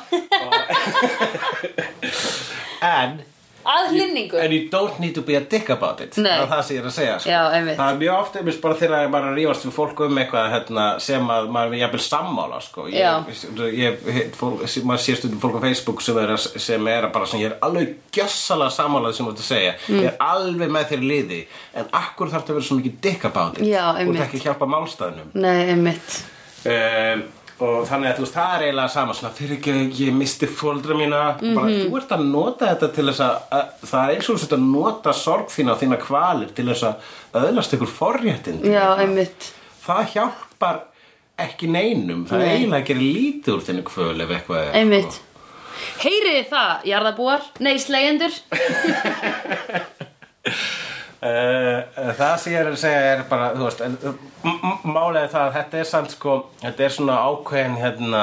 en
Aðlinningu
And you don't need to be a dick about it
Nei.
Það er það sem ég er að segja sko.
Já, einmitt.
Það er mjög oft einmitt bara þegar maður er að rífast við fólk um eitthvað hérna, sem að maður er jafnvel sammála sko. ég, ég, ég, fólk, Maður sé stundum fólk á Facebook sem er, að, sem er að bara sem ég er alveg gjössalega sammála sem þú ert að segja
Mm.
Ég er alveg með þér í liði En akkur þarf það að vera svo mikið dick about it
Já,
Þú
einmitt.
ert ekki að hjálpa málstæðnum
Nei, einmitt
um, og þannig að þú veist, það er eiginlega sama svona fyrir ekki að ég misti fóldra mína bara,
Mhm.
þú ert að nota þetta til þess að, að það er eins og þú sett að nota sorg þína og þína kvalir til þess að öðlast ykkur forréttin
Já, einmitt
það hjálpar ekki neinum það
Nei.
er eiginlega gerir lítið úr þenni kvöl ef eitthvað er
Einmitt
sko.
Heyrið þið það, jarðabúar? Nei, slegjendur?
Eh, það sem ég er að segja er bara þú veist, en, eh, m- m- málega það að þetta er samt sko, þetta er svona ákveðin hérna,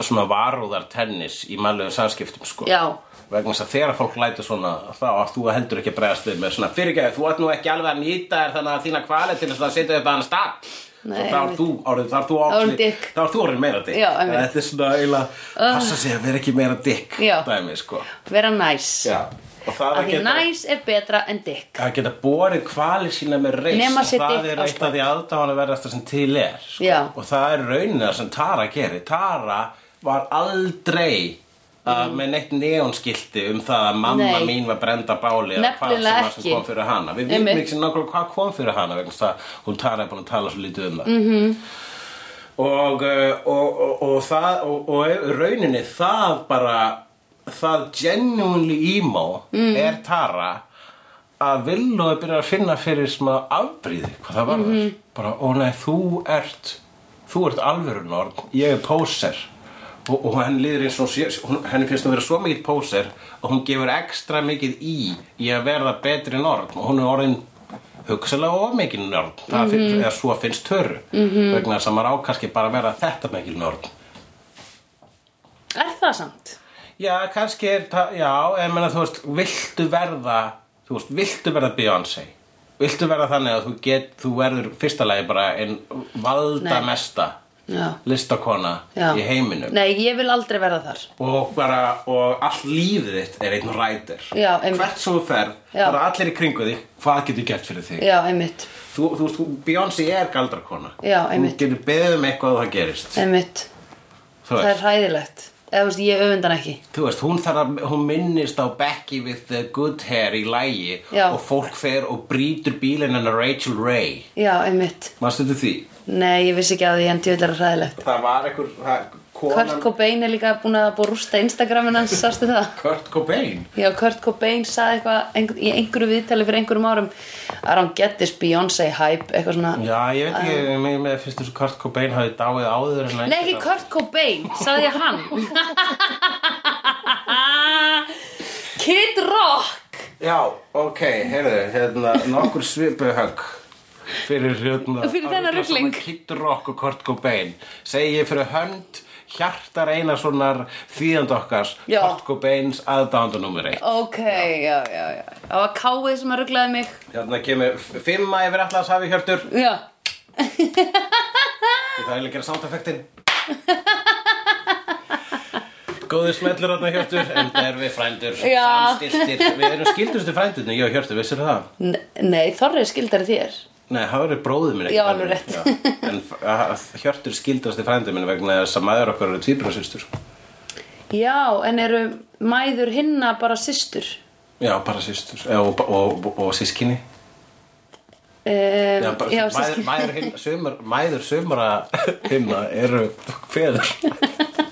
svona varúðar tennis í mannlegu samskiptum sko
Já,
vegna þess að þegar fólk lætur svona þá að þú heldur ekki að bregðast við með svona fyrirgæðu, þú ert nú ekki alveg að nýta þér þannig að þína kvali til þess að setja upp að hann stað
Nei,
þá er
einmitt.
þú orðin, þá er þú
orðin
orðin
dick.
þá er þú orðin meira dikk
Já, einmitt.
þetta er svona eiginlega passa sig að vera ekki meira dikk
Já.
dæmi sko
vera næs
Já. og það
Af
að
því
geta
næs er betra en dick
að geta borið kvali sína með
Nema
reist
sé
það
dick
er
á
eitt
spott.
af því aðdáðan að verðast það sem til er sko.
Já.
og það er raunin það sem Tara gerir Tara var aldrei Uh, með neitt neonskilti um það að mamma
Mm. Nei.
mín var brenda báli eða hvað sem
Nefnilega
var sem
ekki.
kom fyrir hana við vitum
Einmitt.
ekki sem nákvæmlega hvað kom fyrir hana vegna þess að hún Tara er búin að tala svo lítið um það mm -hmm. og, uh, og, og, og það og, og rauninni það bara það genuinely emo er Tara að villu að byrja að finna fyrir smá afbríði, hvað það var bara, ó nei, þú ert þú ert alvörunord, ég er póser og, og henni líður eins og hún sé- hún, henni finnst hún vera svo mikið póser og hún gefur ekstra mikið í í að verða betri nord og hún er orðin hugsalega of mikið nörd það mm
Mhm.
-hmm. er svo finnst törru -hmm. vegna þess að maður á kannski bara að vera þetta mikið nörd
Er það samt?
Já, kannski er það, já, en meina þú veist, viltu verða, þú veist, viltu verða Beyoncé? Viltu verða þannig að þú get, þú verður fyrsta lagi bara en valda
Nei.
mesta
Já,
listakona
já
í heiminum
Nei, ég vil aldrei verða þar
og bara, og allt lífið þitt er einn rætir.
Já, einmitt.
Hvert sem þú ferð,
Já.
bara allir í kringu þig, hvað getur gert fyrir þig?
Já, einmitt,
Þú, þú veist, þú- Beyoncé er galdrakona.
Já, einmitt.
Þú getur beðið um eitthvað að það gerist.
einmitt
Þú
Það er hræðilegt Eða, þú veist, ég öfundan ekki
Þú veist, hún, þarf að, hún minnist á Becky with the good hair í lægi
Já.
og fólk fer og brýtur bílinn hennar Rachel Ray.
Já, einmitt
Manstu þetta því?
Nei, ég vissi ekki að því en djöðlega hræðilegt
Það var einhver, það,
Kurt Cobain er líka búin að búið rústa Instagramin hans, sástu það?
Kurt Cobain.
Já, Kurt Cobain saði eitthvað einhver, í einhverju viðtali fyrir einhverjum árum I don't get this Beyoncé hype, eitthvað svona
Já, ég veit ekki, um, mér mér finnst þess að Kurt Cobain hafi dáið áður en
Ah. Nei, ekki Kurt Cobain, saði ég hann Kid Rock
Já, ok, heyrðu, hérna, nokkur svipuhögg fyrir hérna
Fyrir þennan
að rugla saman
rugling.
Kid Rock og Kurt Cobain segi ég fyrir hönd hjartar Einarssonar þýðand okkars
Já.
Kurt Cobains aðdánda númer 1
Ok, já, já, já Það var káið sem að ruglaði mig
Þarna Hérna kemur fimma yfir allans hafi hjörtur
Já,
Það er líka soundeffektin Góður smellur þarna hjörtur En það er við frændur
Já.
Samstiltir Við erum skildustu frændurni Ég og hjörtur, vissir það?
N nei, Þorri er skildari þér
Nei, það verður bróður minn ekki
Já,
frændi
alveg rétt.
minn, já. En f- að- að hjörtur skildustu frændur minn Vegna þess að maður okkar eru tvíbrunasýstur
Já, en eru mæður hinna bara systur
Já, bara sýstur Og, og, og, og sískinni
um,
Já, bara, já, mæður,
systkini.
mæður, hin, sumar, mæður sumara hinna eru feður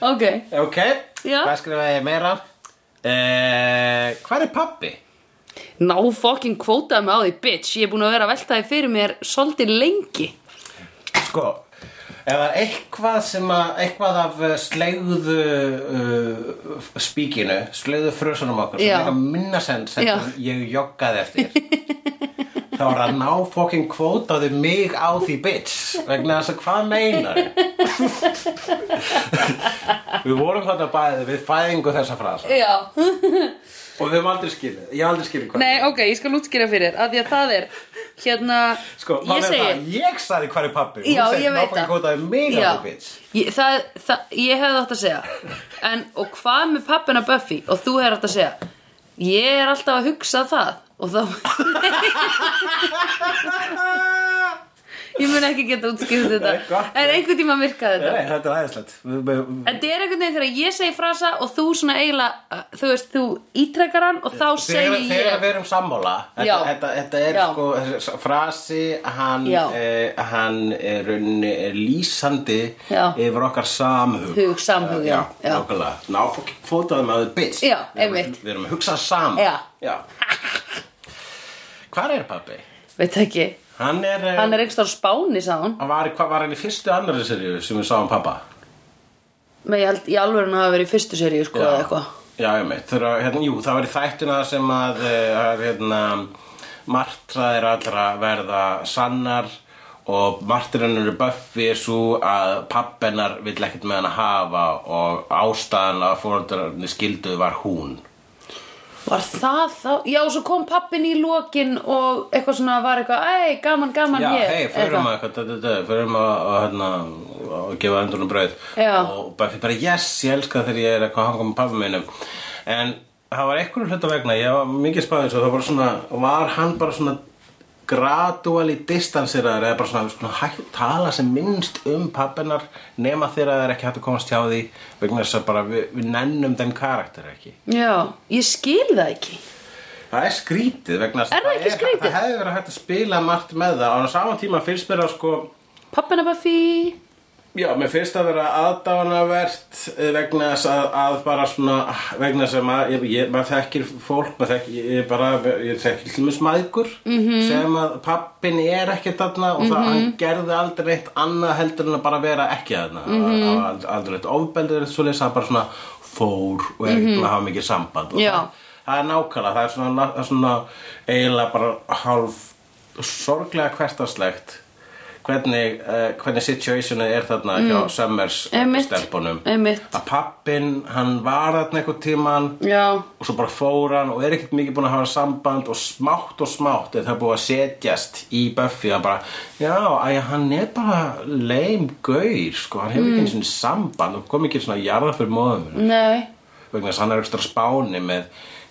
Ok,
Ok,
Já.
hvað skrifaði ég meira? Eh, hvað er pappi?
ná fokkin kvótaði mig á því, bitch Ég er búin að vera að velta því fyrir mér svolítið lengi
Sko, ef það er eitthvað sem að, eitthvað af eh, slegðu uh, spíkinu, slegðu frösunum okkar, sem
Já.
er eitthvað minna senn sem
Já.
ég joggaði eftir, þá er að ná fokkin kvótaði mig á því bitch, vegna þess að hvað meinar Við vorum þarna bæði við fæðingu þessa frasa
Já
og við höfum aldrei skilið, ég hef aldrei skilið hvað.
Nei, ok, ég skal útskýra fyrir þér, Af því að það er, hérna
Sko,
Ég
ég segi
segi-
það, Ég sagði hvað er pappi
Já,
Hún
ég
sagði
veit
náfækki kótaði mig á
Já.
því bitch
ég, það, það, ég hefði átt að segja En, og hvað með pappina Buffy Og þú hefði átt að segja Ég er alltaf að hugsa það Og þá Ég mun ekki geta útskipt þetta
gott.
En einhvern tíma virkaði þetta
Nei, þetta er æðislegt
Þetta er einhvern veginn þegar ég segi frasa og þú svona eiginlega, þú veist, þú ítrekkar hann og þá
Þegar,
segi
þegar
ég
við erum sammála þetta,
Já.
þetta, þetta er
Já.
sko þessi frasi hann,
Já.
eh, hann er, raunni, er lýsandi
Já.
yfir okkar samhug Eh,
Hug, samhug, já, já.
nákvæmlega. ná fólk- fótaðum að þau bitch
Já,
Við erum-
einmitt.
við erum að hugsa saman
Já.
hvar er pabbi?
Veit ekki,
hann er, eh,
hann er einhvers þar á Spáni, sagði hún
hann var, hvað var hann í fyrstu annari serju sem við sáum pabba
Men ég held í alveg hann hafa verið í fyrstu seríu, sko, eða eitthvað
Já, ég meitt, þegar, hérna, jú, það var í þættuna sem að, eh, að hérna, martraðir allra verða sannar og martrinnur Buffy er svo að pappennar vill ekkert með hann að hafa og ástæðan að fóröldararni skilduð var hún.
Var það þá? Já, svo kom pappin í lokin og eitthvað svona var eitthvað, ei, gaman, gaman
Já,
hér.
hei, förum
Eitthvað.
að, hvað, þetta, þetta, förum að, að, hérna, að gefa endurinn brauð
Já.
og Buffy bara, yes, ég elska þegar ég er eitthvað að hanga með pappa mínum en það var einhverjum hluta vegna, ég var mikið spæðið svo, það var svona, var hann bara svona gradually distanseraður eða bara svona, svona hægt tala sem minnst um pappinar nema þegar það er ekki hægt að komast hjá því vegna þess að bara við, við nennum þeim karakter ekki
Já, ég skil það ekki.
Það er skrítið vegna þess að
Er það ekki skrítið?
Það hefði verið hægt að spila margt með það á saman tíma finnst mér að sko
Pappin er bara fí.
Já, mér finnst það vera aðdánavert eh, vegna þess að, að bara svona ah, vegna þess að maður, ég, ég, maður þekkir fólk, maður þekkir, ég, ég bara ég þekkir hlumus maðgur -hmm. sem að pappin er ekki þarna og það hann gerði aldrei eitt annað heldur en að bara vera ekki þarna mm -hmm. aldrei eitt ofbeldur svo leys að bara svona fór og er ekki búin að hafa mikið samband og
Já.
það, það er nákvæmlega, það er svona, það er svona eiginlega bara hálf sorglega hvertarslegt hvernig, uh, hvernig situationið er þarna hjá Summers
Mm.
eh,
Einmitt.
stelpunum
Einmitt.
að pappin, hann var þarna einhvern tíman
Já,
og svo bara fór hann og er ekkert mikið búin að hafa samband og smátt og smátt er það búið að setjast í Buffy að bara, já, æ, hann er bara leim gaur, sko hann hefur
Mm.
ekki einu svona samband og kom ekki svona jarða fyrir móðum mm
nei.
vegna þess að hann er ekstra spáni með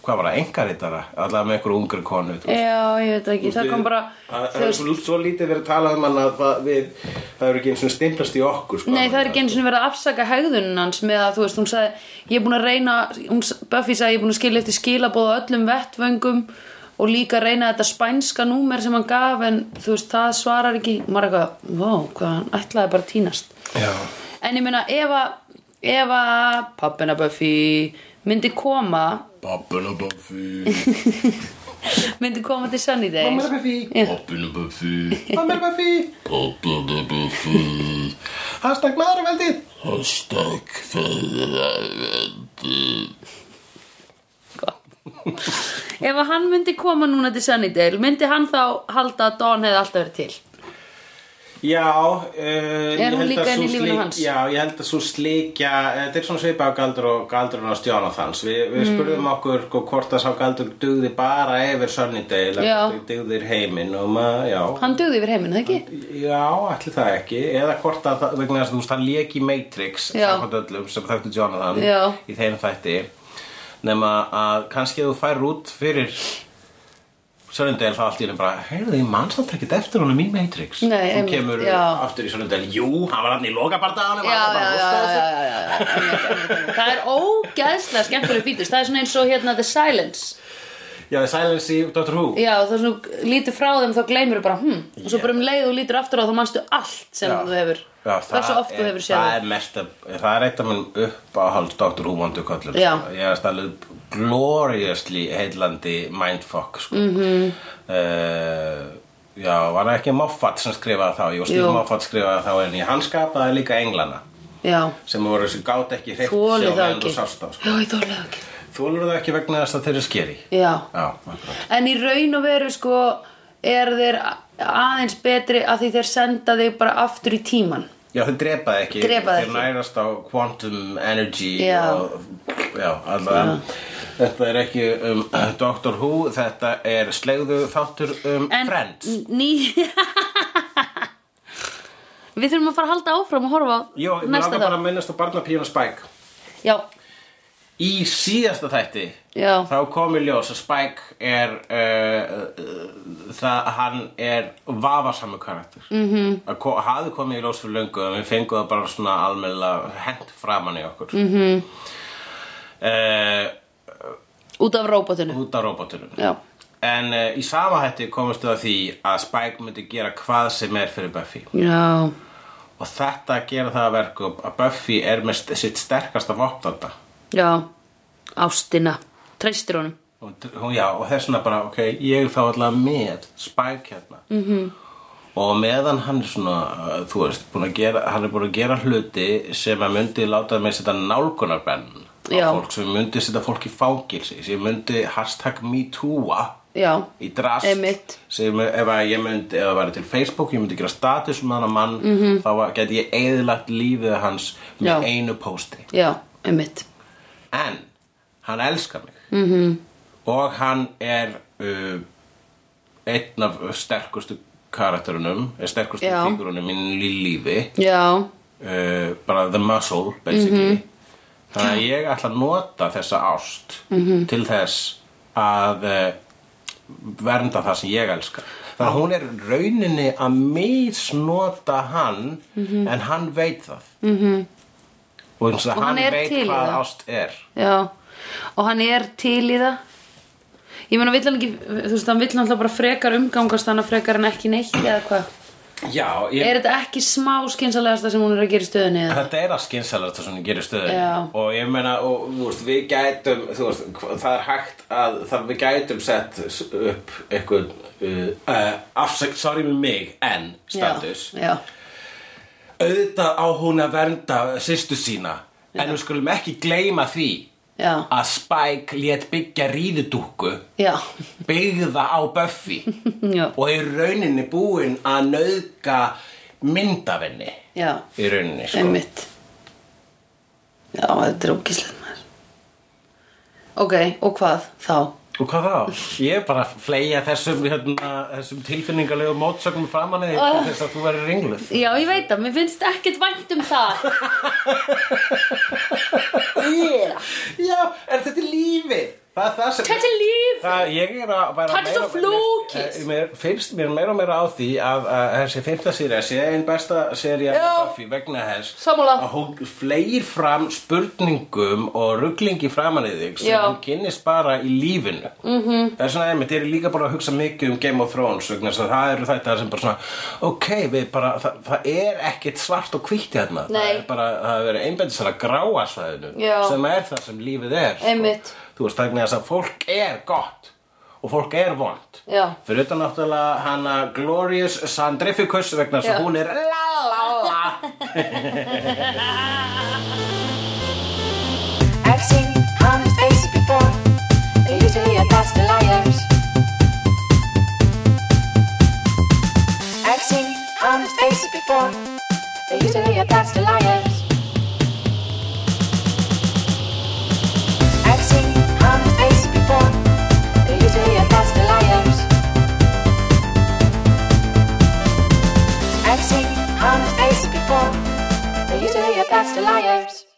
hvað var það, engaritara, allavega með einhverju ungri konu þú veist.
Já, ég veit ekki. Það kom bara,
Það
þú
það er
veist,
svo, svo lítið verið að tala um hann að það, við, það er ekki eins og stimplast í okkur sko,
Nei, það er ekki einu sinni verið að afsaka hegðunin hans með að, þú veist, hún sagði, ég er búin að reyna, hún, s- Buffy sagði, ég er búin að skilja eftir skilabóð á öllum vettvöngum og líka reyna þetta spænska númer sem hann gaf, en þú veist, það svarar ekki, maður er eitthvað, vá, hvað hann ætlaði bara að týnast.
Já,
En ég meina, ef að, ef að pappina Buffy myndi koma,
pappinu Buffy,
myndi koma til Sunnydale.
Mamma er Buffy,
Pappinu Buffy,
mamma er Buffy,
pappinu Buffy,
hashtag maðurveldið.
hashtag feðravendi.
Ef að hann myndi koma núna til Sunnydale, myndi hann þá halda að Dawn hefði alltaf verið til.
Já, uh, er
hún líka inn í lífinu hans?
Já, ég held að svo slíkja, þetta er svona svipað á galdur og galdurinn á Stjónathans. Vi, við
Mm.
spurðum okkur sko, hvort að sá galdur dugði bara yfir Sunnydale,
Já.
að dugðir heiminn og maður, já.
Hann dugði yfir heiminn, það ekki?
Já, allir það ekki, eða hvort að það, vegna þess að þú veist, hann lék í Matrix,
Já.
samkvæmt öllum, sem þekktu Jonathan
Já.
í þeim þætti. Nefna að kannski að þú fær út fyrir Sörnundel þá allt í henni bara, heyrðu því mannsamt ekkert eftir honum í Matrix
Nei,
Þú
einmitt,
kemur
já.
aftur í Sörnundel, jú, hann var hann í lokabardaðanum
Já, já, já, já, já, já, já, einmitt, einmitt, einmitt. Það er ógæðslega skemmtileg fítus. Það er svona eins og hérna The Silence.
Já, Silence í Doctor Who
Já, það er svona, lítur frá þeim þá gleymur bara, hm, og svo bara um leið og lítur aftur á þá manstu allt sem
Já.
þú hefur,
Já,
hversu oft þú
er-
hefur
það
séð
er, mesta, það er eitt af minn uppáhalds Dr. Who vondu kollum
Já.
sko. ég er stælið gloriously heillandi mindfuck sko. mm
Mhm.
-hmm. já, var það ekki Moffat sem skrifaði þá jú, Steve
Jú.
Moffat skrifaði þá en ég hann skapaði líka englana
það Já,
sem voru sem gátt ekki hreitt
þóli það ekki
sásta, sko.
Já, ég þóli það ekki
þólur það ekki vegna þess að þeir eru skeri
Já,
já, akkurat
En í raun og veru sko er þeir a- aðeins betri að því þeir senda þig bara aftur í tíman.
Já, þeir drepaði ekki,
Drepa það
þeir
ekki.
nærast á quantum energy
Já.
og, já allavega Þetta er ekki um Doctor Who, þetta er slegðu þáttur um
En
Friends
n- Ný... Við þurfum að fara að halda áfram og horfa á
Jó, mér
næsta
langar bara
þá.
að minnast á barnapíun og Spike
Já,
í síðasta þætti
Já.
þá kom í ljós að Spike er uh, uh, það, hann er vafasamur karakter mm
Mhm.
-hmm. ko hafði komið í ljós fyrir löngu en við fengum það bara svona almennilega hent framan í okkur Eh, mm -hmm.
Mhm. Út af róbotinu
út af robotunum
Já,
en uh, í sama hætti komist við að því að Spike myndi gera hvað sem er fyrir Buffy
já,
og þetta gera það að verkum að Buffy er með st- sitt sterkasta vopnanda
já Ástina, treystir honum
og, og, já, og þess vegna bara, ok, ég er þá allavega með Spike hérna -hmm. og meðan hann er svona uh, þú veist, búin að gera, hann er búin að gera hluti sem að myndi láta mig setja nálgunarbenn
Já.
á fólk sem myndi setja fólk í fangilsi sem myndi hashtag MeTooa
Já,
í drast
Einmitt.
sem ef að ég myndi ef það væri til Facebook, ég myndi gera status um þannig mann, mm -hmm. þá geti ég eðilagt lífið hans með
Mhm. Já.
einu pósti
já, einmitt
en hann elskar mig mm
Mhm.
-hmm. og hann er uh, einn af sterkustu karakterunum eh, sterkustu
Já.
fígurunum minn í lífi
Já,
uh, bara the muscle basically
Mhm.
þannig að ég ætla að nota þessa ást
Mhm.
til þess að uh, vernda það sem ég elska
Ah.
þannig að hún er rauninni að misnota hann en hann veit það mm -hmm. og, og
Mhm. Og
hann,
hann er
veit
til í
hvað
það.
ást er
já Og hann er til í það Ég meina, vill hann ekki, þú veist, hann vill náttúrulega bara frekar umgangast hana frekar en ekki neitt eða hvað
já, ég,
Er þetta ekki smá skynsalegasta sem hún er að gera í stöðunni eða?
Þetta er að skynsalast sem hún gerir stöðin
Já.
og ég meina, og, þú veist, við gætum þú veist, hva- það er hægt að það við gætum sett s- upp eitthvað uh, uh, afsæk, sorry með mig, en status
Já, já
auðvitað á hún að vernda sýstu sína, en við skulum ekki gleyma því
Já.
að Spike lét byggja ríðudúkku
Já,
byggða á Buffy
já,
og er rauninni búin að nauðga myndavenni
já,
í rauninni, sko
einmitt Já, þetta er ógislegt maður Ok, og hvað þá?
Og hvað þá? Ég er bara að fleia þessum, hérna, þessum tilfinningalegu mótsögnum framan eða oh. þess að þú verður ringluð.
Já, ég veit það, mér finnst ekkert vænt um það
Já, er þetta er lífið? Það er það sem...
Þetta er líf
Það, ég er að vera
Þetta er
meira
svo
og meira-
flókið.
Eh, mér, Fyrst mér meira og meira á því að, að þessi fymta sérija sé einn besta sérija með Buffy vegna þess
Sammála.
að hún fleir fram spurningum og rugglingi framan í þig sem
Já. Mhm.
hún kynnist bara í lífinu mm -hmm. það er svona einmitt, ég er líka bara að hugsa mikið um Game of Thrones vegna þess að það eru þetta sem bara svona ok, við bara, það, það er ekkit svart og hvítt hérna það
Nei.
er bara, það er verið einbættisar að gráa svæðinu
Já.
sem er það sem lífið er sko.
Einmitt.
Þú veist, þannig að þess að fólk er gott og fólk er vond.
Já.
Fyrir utan náttúrulega hana Glorious Sandrificus vegna þess
Já.
að hún er la la la.
I've seen honest faces before. They're usually a pass to liars. I've seen honest faces before. They're usually a pass to liars. I've seen honest faces before. They're usually a pass to liars. I've seen honest faces before. They're usually a pass to liars.